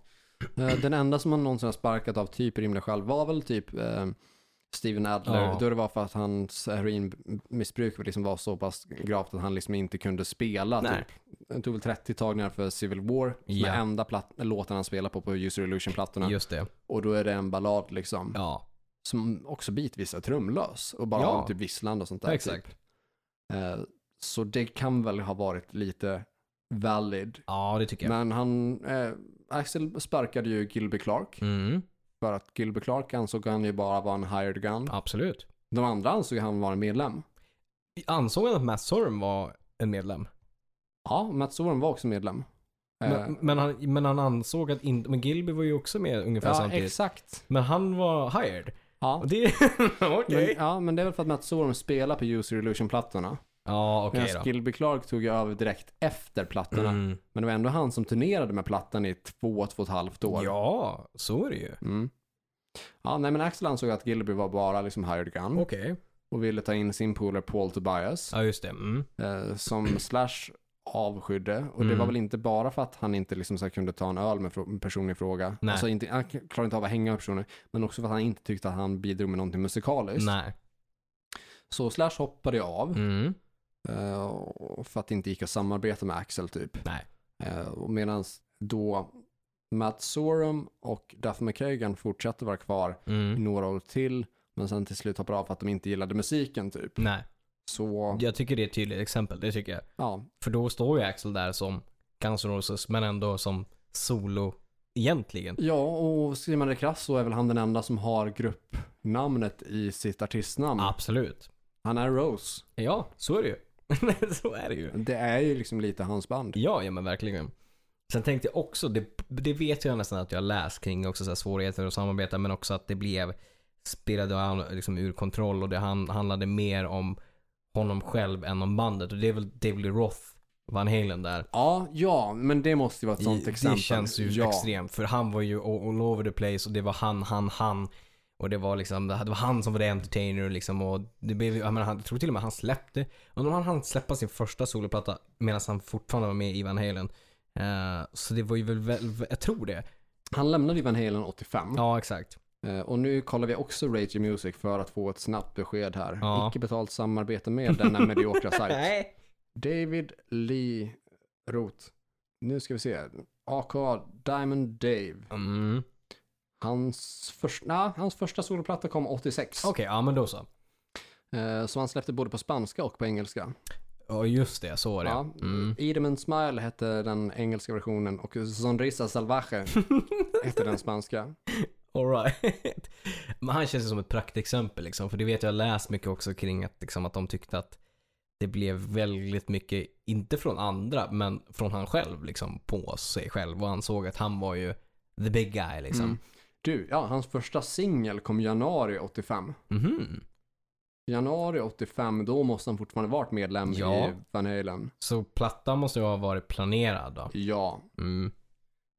Eh, Den enda som han någonsin har sparkat av typ rimliga skäl var väl typ eh, Steven Adler.
Ja.
Då det var för att hans heroinmissbruk liksom var så pass gravt att han liksom inte kunde spela.
Nej.
Typ. Han tog väl 30 tagningar för Civil War, som
Ja.
är enda platt- låten han spelar på på User Illusion-plattorna.
Just det.
Och då är det en ballad liksom,
Ja.
som också bitvis är trumlös och bara
Ja.
typ visslande och sånt där.
Exakt.
Typ. Eh, Så det kan väl ha varit lite valid.
Ja det tycker jag.
Men han, eh, Axel sparkade ju Gilby Clark.
Mm,
För att Gilby Clark ansåg han ju bara vara en hired gun.
absolut.
De andra ansåg han vara en medlem.
Ansåg han att Matt Sorum var en medlem?
Eh. Ja, Matt Sorum var också medlem. Eh,
Men, men, han, men han ansåg att inte, men Gilby var ju också med ungefär
ja,
samtidigt.
exakt.
Men han var hired.
Ja.
Och det, okej.
Men, ja, men det är väl för att Matt Sorum spelar på User Illusion-plattorna.
Ja, okej
Medan Gilby Clark tog ju över direkt efter
då.
plattorna.
Mm.
Men det var ändå han som turnerade med plattan i två, två och ett halvt år.
Ja, så är det ju.
Mm. Ja, nej men Axel ansåg att Gilby var bara liksom hired gun
Okej.
och ville ta in sin polare Paul Tobias
Ja, just det. Mm.
eh, som Slash avskydde. Och det
Mm.
var väl inte bara för att han inte liksom så här kunde ta en öl med fro- med personen i fråga.
Nej.
Alltså inte, han klarade inte av att hänga med personer. Men också för att han inte tyckte att han bidrog med någonting musikaliskt.
Nej.
Så Slash hoppade ju av
Mm.
eh, och- för att det inte gick att samarbeta med Axel typ.
Nej.
Eh, Medan då Matt Sorum och Duff McKagan fortsatte vara kvar i
Mm.
några år till. Men sen till slut hoppade av för att de inte gillade musiken typ.
Nej.
Så
Jag tycker det är ett tydligt exempel, det tycker jag.
ja,
För då står ju Axel där som Guns N' Roses, men ändå som solo egentligen.
ja och skriver man det krasst så är väl han den enda som har gruppnamnet i sitt artistnamn.
Absolut.
Han är Rose.
Ja, så är det ju. så är det ju.
Det är ju liksom lite hans band.
Ja, ja men verkligen. Sen tänkte jag också, det, det vet jag nästan att jag läst kring också så här svårigheter att samarbeta men också att det blev spelade han liksom ur kontroll och det han, handlade mer om honom själv än om bandet och det är väl David Lee Roth, Van Halen där.
Ja, ja, men det måste ju vara ett sånt
I-
exempel.
Det känns ju
ja.
extremt för han var ju all all over the place och det var han, han, han. Och det var liksom, det var han som var the entertainer liksom och det blev, jag, menar, han, jag tror till och med han släppte, undrar om han hann släppa sin första soloplatta medan han fortfarande var med i Van Halen. Eh, så det var ju väl, väl, jag tror det.
Han lämnade ju Van Halen 85.
Ja exakt.
Eh, Och nu kollar vi också Rage Music för att få ett snabbt besked här.
Ja.
Icke betalt samarbete med denna mediokra sajt.
Nej.
David Lee Roth. Nu ska vi se. AK Diamond Dave.
Mm.
Hans, först, nej, hans första soloplatta kom 86.
Okej, ja men då så.
Eh, som han släppte både på spanska och på engelska.
Ja just det, så var det.
Ja. eh,
Mm.
Idem and Smile hette den engelska versionen och Sonrisa Salvaje hette den spanska.
Alright. Men han känns ju som ett praktexempel liksom. För det vet jag, jag har läst mycket också kring att, liksom, att de tyckte att det blev väldigt mycket, inte från andra, men från han själv liksom på sig själv. Och han såg att han var ju the big guy liksom.
Mm. Du, ja, hans första singel kom januari 85.
Mhm.
Januari 85, då måste han fortfarande varit medlem
Ja.
i Van Halen.
Så plattan måste ju ha varit planerad då.
Ja,
Mm.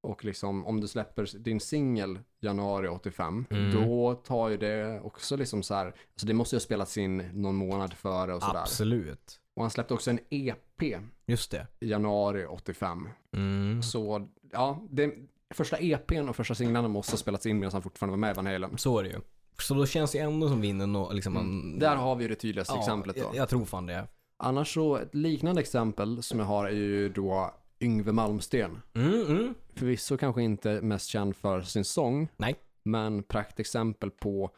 och liksom om du släpper din singel januari 85,
Mm.
då tar ju det också liksom så här, alltså det måste ju ha spelats in någon månad före och sådär.
Absolut.
Och han släppte också en EP i
Just det.
januari 85.
Mm.
Så ja, det, första EPn och första singlarna måste ha spelats in medan han fortfarande var med i Van Halen.
Så är det ju. Så då känns det ändå som vinnen och liksom man...
Mm. Där har vi ju det tydligaste
ja,
exemplet då.
Jag, jag tror fan det.
Annars så, ett liknande exempel som jag har är ju då Yngve Malmsten.
Mm, mm.
Förvisso kanske inte mest känd för sin sång.
Nej.
Men praktexempel på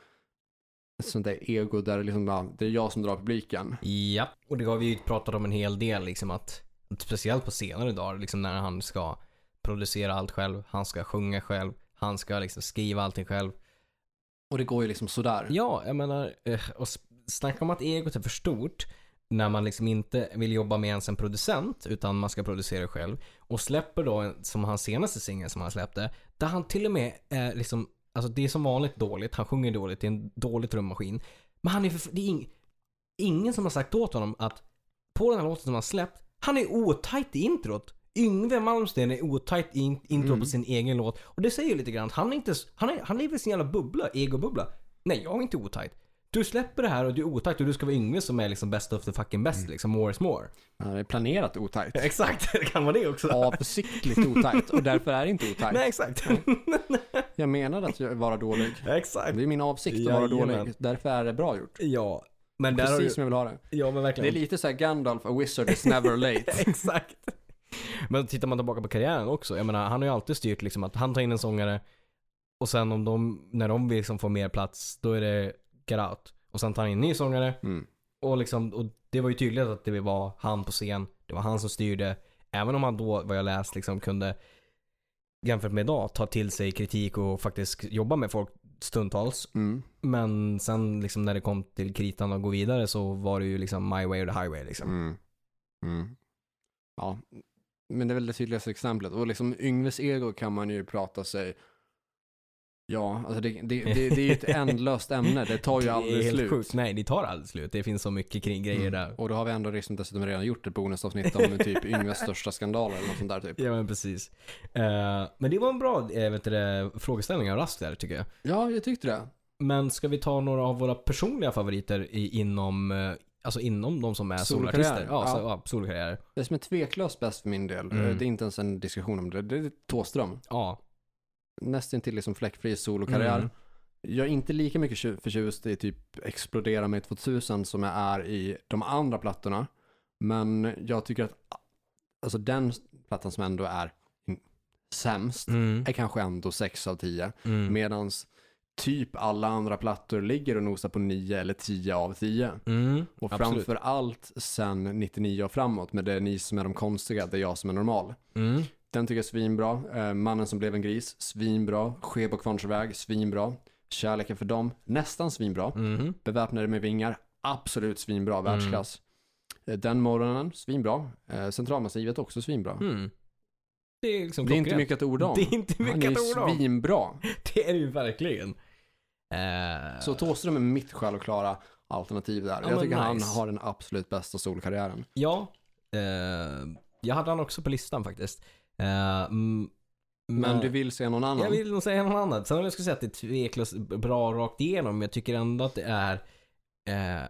ett sånt där ego där det liksom bara, det är jag som drar publiken.
Ja, och det har vi ju pratat om en hel del liksom att speciellt på senare dagar liksom när han ska producera allt själv, han ska sjunga själv, han ska liksom skriva allting själv.
Och det går ju liksom sådär.
Ja, jag menar, eh, och s- snacka om att egot är för stort när man liksom inte vill jobba med ens en producent utan man ska producera själv. Och släpper då, en- som hans senaste singel som han släppte, där han till och med är liksom, alltså det är som vanligt dåligt, han sjunger dåligt, det är en dålig trummaskin. Men han är för, det är ing, ingen som har sagt åt honom att på den här låten som han släppt, han är otajt i introt. Yngve Malmsten är otajt i in- introt på sin egen låt. Och det säger ju lite grann att han, är inte, s- han, är, han lever i sin jävla bubbla, egobubbla. Nej, jag är inte otajt. Du släpper det här och du är otajt och du ska vara Yngve som är liksom best of the fucking best liksom. More is more.
Ja, Det är planerat otajt.
Exakt, det kan vara det också.
Avsiktligt otajt och därför är det inte otajt.
Nej, exakt.
Jag menade att jag var dålig.
exakt.
Det är min avsikt att vara
Jajamän.
dålig. Därför är det bra gjort.
Ja, men där har
Precis
du...
som jag vill ha det.
Ja, men verkligen.
Det är lite så här Gandalf, a wizard is never late.
Exakt. Men tittar man tillbaka på karriären också. Jag menar, han har ju alltid styrt liksom att han tar in en sångare och sen om de, när de vill liksom få mer plats, då är det get out. Och sen tar han in en ny sångare
Mm.
och liksom, och det var ju tydligt att det var han på scen. Det var han som styrde. Även om han då, vad jag läst, liksom kunde jämfört med idag ta till sig kritik och faktiskt jobba med folk stundtals.
Mm.
Men sen liksom när det kom till kritan och gå vidare så var det ju liksom my way or the highway liksom.
Mm. Mm. Ja, men det är väl det tydligaste exemplet. Och liksom Yngves ego kan man ju prata sig Ja, alltså det, det, det, det är ju ett ändlöst ämne. Det tar ju
Det är
aldrig
helt
slut. Mm.
sjukt. Nej, det tar aldrig slut. Det finns så mycket kring grejer där.
Och då har vi ändå liksom dessutom redan gjort ett bonusavsnitt om typ Yngves största skandaler eller något sånt där typ.
Ja men precis. Eh, men det var en bra eh, vet du, det, frågeställning av Rask där tycker jag.
Ja, jag tyckte det.
Men ska vi ta några av våra personliga favoriter i, inom, eh, alltså inom de som är
Solokarriär.
soloartister? Ja, Så,
Ja.
ja, solokarriär.
Det som är tveklöst bäst för min del,
Mm.
eh, det är inte ens en diskussion om det, det är Thåström.
Ja,
Nästintill liksom fläckfri solokarriär.
Mm.
Jag är inte lika mycket tju- förtjust i typ Explodera mig 2000 som jag är i de andra plattorna. Men jag tycker att alltså den plattan som ändå är sämst
Mm.
är kanske ändå 6 av 10.
Mm.
Medan typ alla andra plattor ligger och nosar på 9 eller 10 av 10.
Mm.
Och
Absolut.
framför allt sen 99 och framåt, men det är ni som är de konstiga, det är jag som är normal.
Mm.
Den tycker jag är svinbra. Eh, Mannen som blev en gris, svinbra. Skeb och Kvarnsväg, svinbra. Kärleken för dem, nästan svinbra.
Mm.
Beväpnade med vingar, absolut svinbra, världsklass. Eh, Den morgonen, svinbra. Eh, Centralmassivet också svinbra.
Mm. Det är liksom
Det är inte
klockrent.
mycket att orda om.
Det är inte
Han
mycket
är
att orda om.
svinbra.
Det är det ju verkligen. Eh,
Så Thåström är mitt självklara alternativ där.
Ja,
jag
men
tycker han
nice.
har den absolut bästa solkarriären.
Ja. Eh, jag hade han också på listan faktiskt. Eh, mm,
Men du vill se någon annan?
Jag vill nog säga något annat. Sen om jag skulle säga att det är tveklöst bra rakt igenom. men Jag tycker ändå att det är eh,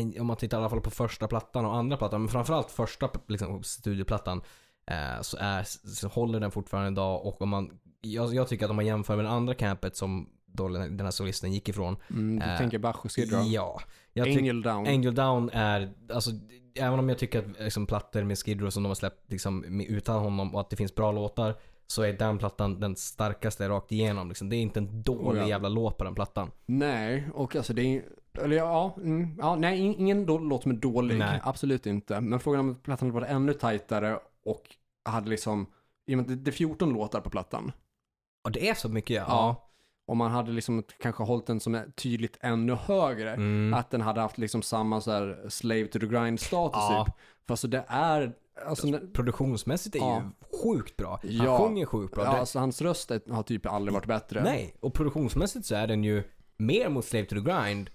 en, om man tittar i alla fall på första plattan och andra plattan, men framförallt första liksom, studioplattan eh, så, är, så håller den fortfarande idag och om man, jag, jag tycker att om man jämför med det andra campet som då den den här solisten gick ifrån.
Mm, du
Eh,
tänker Bach och Skid Row?
Ja. Jag tycker-
Angel Down.
Angel Down är, alltså, även om jag tycker att liksom, plattor med Skid Row som de har släppt liksom, med- utan honom och att det finns bra låtar så är den plattan den starkaste rakt igenom. Liksom. Det är inte en dålig
Oh, ja.
jävla låt på den plattan.
Nej, och alltså det är... Eller ja, mm, ja nej, in- ingen då, låt som är dålig.
Nej.
Absolut inte. Men frågan om plattan hade varit ännu tajtare och hade liksom... i och med att Det det är 14 låtar på plattan.
Och det är så mycket ja.
Om man hade liksom kanske hållit den som är tydligt ännu högre.
Mm.
Att den hade haft liksom samma så här slave to the grind-status
Ja.
typ. För alltså det är... Alltså, när-
Produktionsmässigt är
Ja.
ju sjukt bra. Han
Ja.
sjunger sjukt bra.
ja,
Det-
alltså hans röst är- har typ aldrig varit bättre.
Nej, och produktionsmässigt så är den ju mer mot Slave to the Grind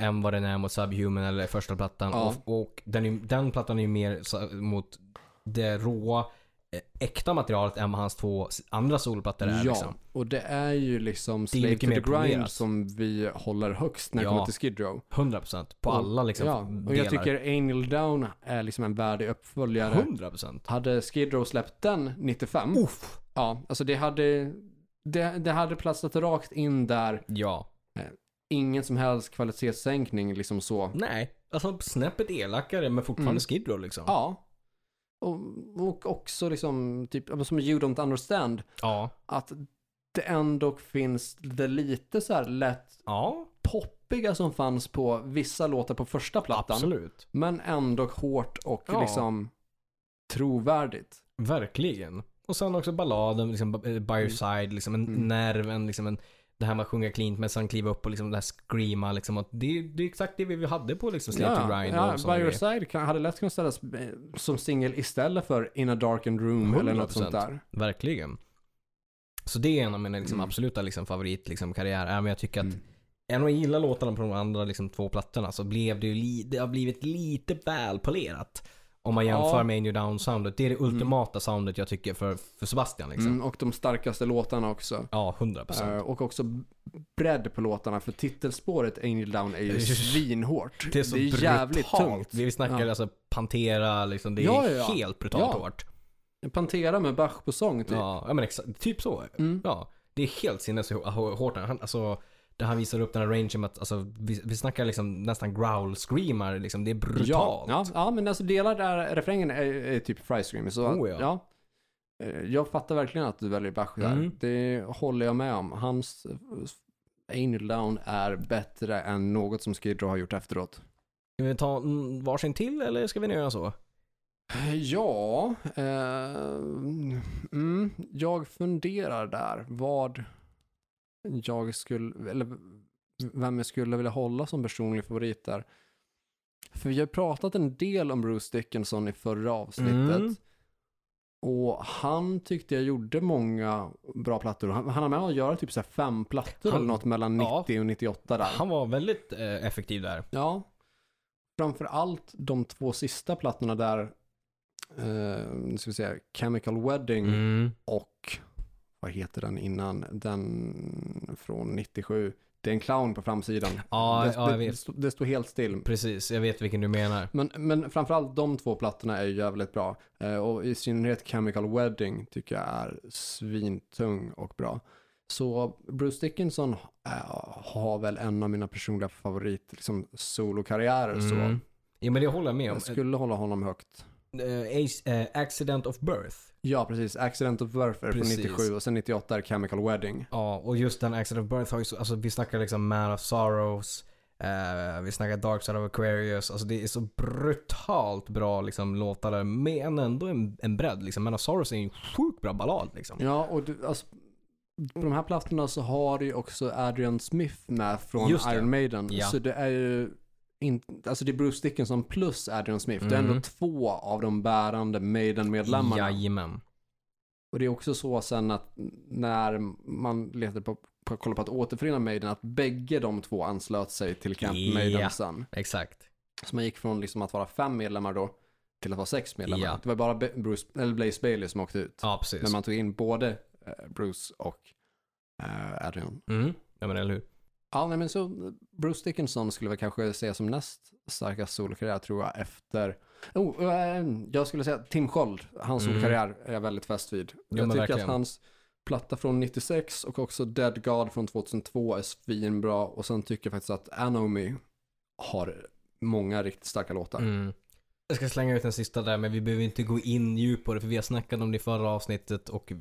än vad den är mot Subhuman eller första plattan.
Mm. Ja.
Och, och den, är, ju- den plattan är ju mer så, mot det råa, eh, äkta materialet än vad hans två s- andra solplattor är.
Ja,
Liksom.
och det är ju liksom
är
Slave
mycket
to the
mer
Grind
polerat.
som vi håller högst när det
Ja.
kommer till Skid Row.
100% på
Och-
alla liksom,
ja, och jag
delar.
tycker Angel Down är liksom en värdig uppföljare.
100%.
Hade Skid Row släppt den 95,
Uff.
ja, alltså det hade, det, det hade platsat rakt in där.
Ja.
Ingen som helst kvalitetssänkning liksom så.
Nej, alltså snäppet elakare men fortfarande
Mm.
Skid Row liksom.
Ja. Och, och också liksom, typ, ja, men som You Don't Understand,
Ja.
att det ändå finns det lite så här lätt
Ja,
poppiga som fanns på vissa låtar på första plattan.
absolut.
Men ändå hårt och
Ja.
liksom trovärdigt.
Verkligen. Och sen också balladen, liksom, b- eh, by your side, liksom, en
Mm.
nerven, liksom, en, det här med att sjunga cleant men sen kliva upp och liksom, det här screama. Liksom, att det, det är exakt det vi hade på liksom, Slate to Grind
ja,
och sådana
By Your
grejer.
Side kan, hade lätt kunnat ställas eh, som singel istället för In a Darkened Room eller något sånt
100%.
där.
Verkligen. Så det är en av mina liksom,
Mm.
absoluta liksom, favorit, liksom, karriär. Även om jag tycker att
Mm.
Även om jag gillar låtarna på de andra liksom, två plattorna så blev det ju li- det har blivit lite väl polerat. Om man jämför
Ja.
med Angel Down soundet. Det är det ultimata soundet jag tycker för, för Sebastian. Liksom.
Mm, och de starkaste låtarna också.
Ja, 100%.
Eh, och också bredd på låtarna för titelspåret Angel Down är ju svinhårt.
Det är så brutalt.
jävligt tungt.
Vi snackar alltså Pantera, liksom, det är
Ja, ja, ja.
helt brutalt
Ja,
hårt.
Pantera med Bach på sång typ.
Ja, ja men exakt, typ så.
Mm.
Ja, det är helt sinneshårt. Han, alltså, där han visar upp den här rangen med att, alltså, vi, vi snackar liksom nästan growl screamar liksom. Det är
Ja,
brutalt.
ja, ja, men alltså delar där refrängen är, är typ Fry Scream. Så
Oh, ja.
Eh, Jag fattar verkligen att du väljer Bach där.
Mm.
Det håller jag med om. Hans eh, Angel Down är bättre än något som Skid Row har gjort efteråt.
Ska vi ta mm, varsin till eller ska vi nu göra så?
Ja, eh, mm, jag funderar där vad jag skulle, eller vem jag skulle vilja hålla som personlig favorit där. För vi har pratat en del om Bruce Dickinson i förra avsnittet.
Mm.
Och han tyckte jag gjorde många bra plattor. Han, han har med att göra typ så här fem plattor
Han-
eller något mellan 90
ja.
och 98 där.
Han var väldigt eh, effektiv där.
Ja. Framför allt de två sista plattorna där, eh, nu ska vi säga, Chemical Wedding
Mm.
och vad heter den innan? Den från 97. Det är en clown på framsidan.
Ja,
det,
ja, jag
det,
vet.
det, stod- det står helt still.
Precis, jag vet vilken du menar.
Men, men framförallt de två plattorna är ju jävligt bra. Eh, och i synnerhet Chemical Wedding tycker jag är svintung och bra. Så Bruce Dickinson eh, har väl en av mina personliga favorit liksom, solokarriärer. Så
Mm. Ja, men det håller jag med om.
jag skulle hålla honom högt.
Eh, Ace- eh, accident of birth.
Ja, precis. Accident of Birth är från
Precis.
97 och sen 98 är Chemical Wedding.
Ja, och just den Accident of Birth har ju så, alltså vi snackar liksom Man of Sorrows, eh, vi snackar Dark Side of Aquarius, alltså det är så brutalt bra liksom låtar där, men ändå en, en bredd liksom. Man of Sorrows är ju en sjukt bra ballad liksom.
Ja, och du, alltså, på de här plattorna så har du ju också Adrian Smith med från
Just det.
Iron Maiden.
Ja.
Så det är ju in, alltså det är Bruce Dickinson plus Adrian Smith. Det är ändå
Mm.
två av de bärande Maiden-medlemmarna.
Jajamän.
Och det är också så sen att när man letade på, på, kollade på att återförena Maiden, att bägge de två anslöt sig till Camp
Ja.
Maiden sen.
Exakt.
Så man gick från liksom att vara fem medlemmar då till att vara sex medlemmar.
Ja.
Det var bara Be- Bruce, eller Blaze Bailey som åkte ut.
Ja, precis.
När man tog in både eh, Bruce och eh, Adrian.
Mm. Ja, men eller hur.
Ja, nej, men så Bruce Dickinson skulle väl kanske säga som näst starkast solokarriär tror jag efter... Oh, eh, jag skulle säga Tim Sköld, hans
Mm.
solokarriär är jag väldigt fäst vid.
men
jag tycker
verkligen.
att hans platta från 96 och också Dead God från 2002 är svinbra och sen tycker jag faktiskt att Anomy har många riktigt starka låtar.
Mm. Jag ska slänga ut den sista där, men vi behöver inte gå in djupt på det, för vi har snackat om det i förra avsnittet och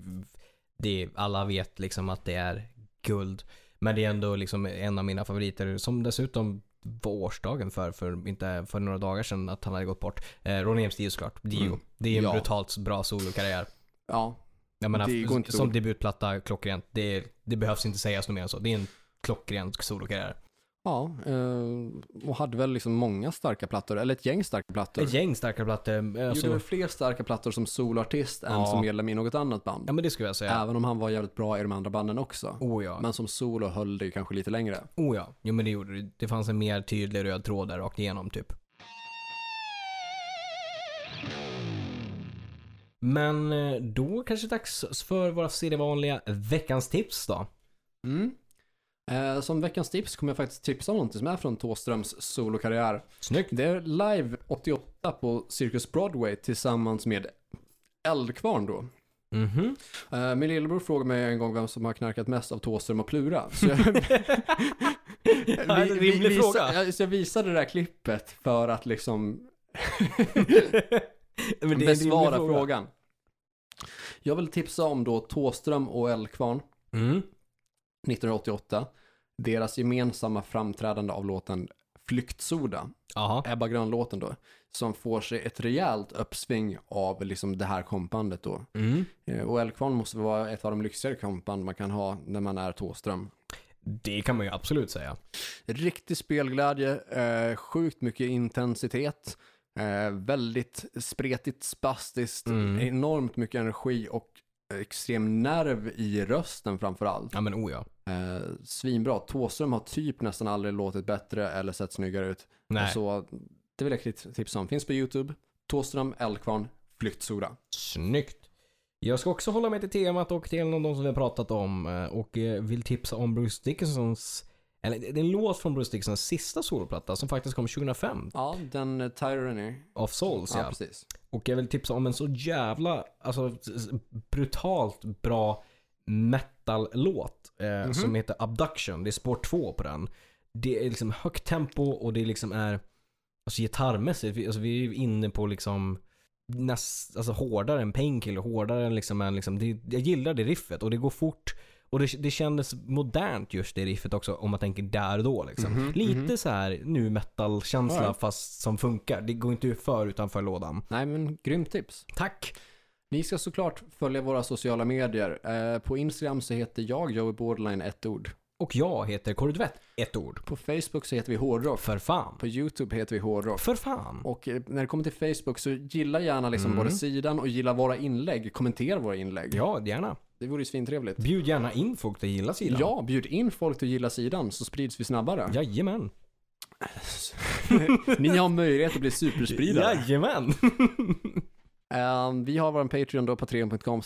det, alla vet liksom att det är guld. Men det är ändå liksom en av mina favoriter, som dessutom var årsdagen för, för, inte, för några dagar sedan, att han hade gått bort. Eh, Ronny James Dio såklart, Dio.
Mm.
Det är en
Ja.
brutalt bra solokarriär.
Ja,
Jag menar,
Det går inte
som
ord.
debutplatta, klockrent. Det, det behövs inte sägas något mer än så. Det är en klockren solokarriär.
ja eh, och hade väl liksom många starka plattor, eller ett gäng starka plattor.
Ett gäng starka plattor. eh,
Gjorde
som-
väl fler starka plattor som soloartist än
Ja.
som medlem i något annat band.
Ja men det skulle jag säga.
Även om han var jävligt bra i de andra banden också.
Oh ja.
Men som solo höll det ju kanske lite längre.
Oh ja, jo men det gjorde det. Det fanns en mer tydlig röd tråd där rakt igenom typ. Men eh, då kanske det är dags för våra sedvanliga veckans tips då.
Eh, som veckans tips kommer jag faktiskt tipsa om någonting som är från Thåströms solokarriär.
Snyggt.
Det är live 88 på Cirkus Broadway tillsammans med Eldkvarn då.
Mhm.
Eh, min lillebror frågade mig en gång vem som har knarkat mest av Thåström och Plura. Så jag,
Ja, en rimlig
visa-
fråga.
ja, så jag visade det där klippet för att liksom
Men det är en
besvara
rimlig fråga.
frågan. Jag vill tipsa om då Tåström och Eldkvarn
Mm.
1988. Deras gemensamma framträdande av låten Flyktsoda,
Jaha.
Ebba Grön-låten då, som får sig ett rejält uppsving av liksom det här kompandet då.
Mm.
Eh, Och Eldkvarn måste vara ett av de lyxigare kompband man kan ha när man är Tåström.
Det kan man ju absolut säga.
Riktig spelglädje, eh, sjukt mycket intensitet, eh, väldigt spretigt, spastiskt,
Mm.
enormt mycket energi och extrem nerv i rösten framför allt.
Ja men oh ja.
Eh, svinbra. Thåström har typ nästan aldrig låtit bättre eller sett snyggare ut.
Nej.
Så det vill jag krit- tipsa om. Finns på YouTube. Thåström, Eldkvarn, Flyktsoda.
Snyggt. Jag ska också hålla mig till temat och till en av de som vi har pratat om eh, och eh, vill tipsa om Bruce Dickinsons, eller det är en låt från Bruce Dickinsons sista soloplatta som faktiskt kom 2005,
Ja, den eh, Tyranny.
Of Souls
Ja,
ja.
precis.
Och jag vill tipsa om en så jävla, alltså s- s- brutalt bra metal-låt eh, som heter Abduction. Det är spår två på den. Det är liksom högt tempo och det liksom är, alltså gitarrmässigt, vi, alltså, vi är ju inne på liksom näst, alltså hårdare än Painkiller, hårdare än liksom, än liksom det, jag gillar det riffet och det går fort. Och det, det kändes modernt just det riffet också om man tänker där och då
Mhm.
liksom. Lite
Mm-hmm.
så här nu metal-känsla
Alright.
fast som funkar. Det går inte för utanför lådan.
Nej, men grymt tips.
Tack!
Ni ska såklart följa våra sociala medier. Eh, på Instagram så heter jag Joey Borderline ett ord.
Och jag heter Korridvett, ett ord.
På Facebook så heter vi Hårdrock.
För fan.
På YouTube heter vi Hårdrock.
För fan.
Och eh, när det kommer till Facebook så gilla gärna liksom
Mm.
både sidan och gilla våra inlägg. Kommentera våra inlägg.
Ja, gärna.
Det vore ju svintrevligt.
Bjud gärna in folk till gilla sidan.
Ja, bjud in folk till att gilla sidan så sprids vi snabbare.
Jajamän.
Ni har möjlighet att bli superspridare.
Jajamän.
Ehm, vi har vår Patreon då, patreon.com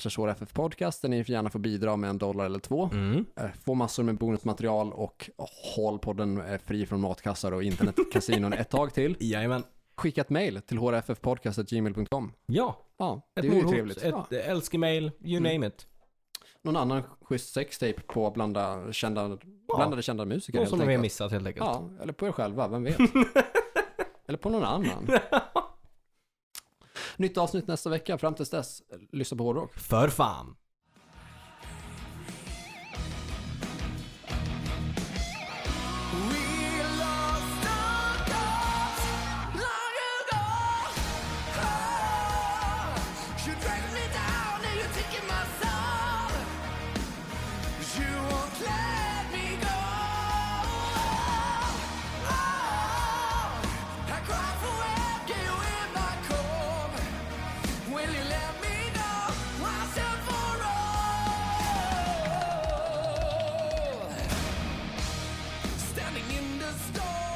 podcast där ni gärna får bidra med en dollar eller två.
Mm.
Eh, Få massor med bonusmaterial och håll podden eh, fri från matkassar och internetkasinon ett tag till.
Jajamän.
Skicka ett mejl till hrffpodcast.gmail.com.
Ja.
Ja, det
Ett
är ju
mordhot,
trevligt.
Ett
Ja. Mm.
ja. älskemail, you name it.
Någon annan schysst sextape på blanda kända,
Ja.
blandade kända musiker
Någon som vi har
enkelt.
missat helt enkelt.
Ja, eller på er själva, vem vet? eller på någon annan. Nytt avsnitt nästa vecka, fram tills dess, eh, lyssna på hårdrock.
För fan.
We lost our gods long ago. You dragged me down and you're taking my soul. You won't let me go. Oh, I cry for help, get you in my core. Will you let me know once and for all? Standing in the storm.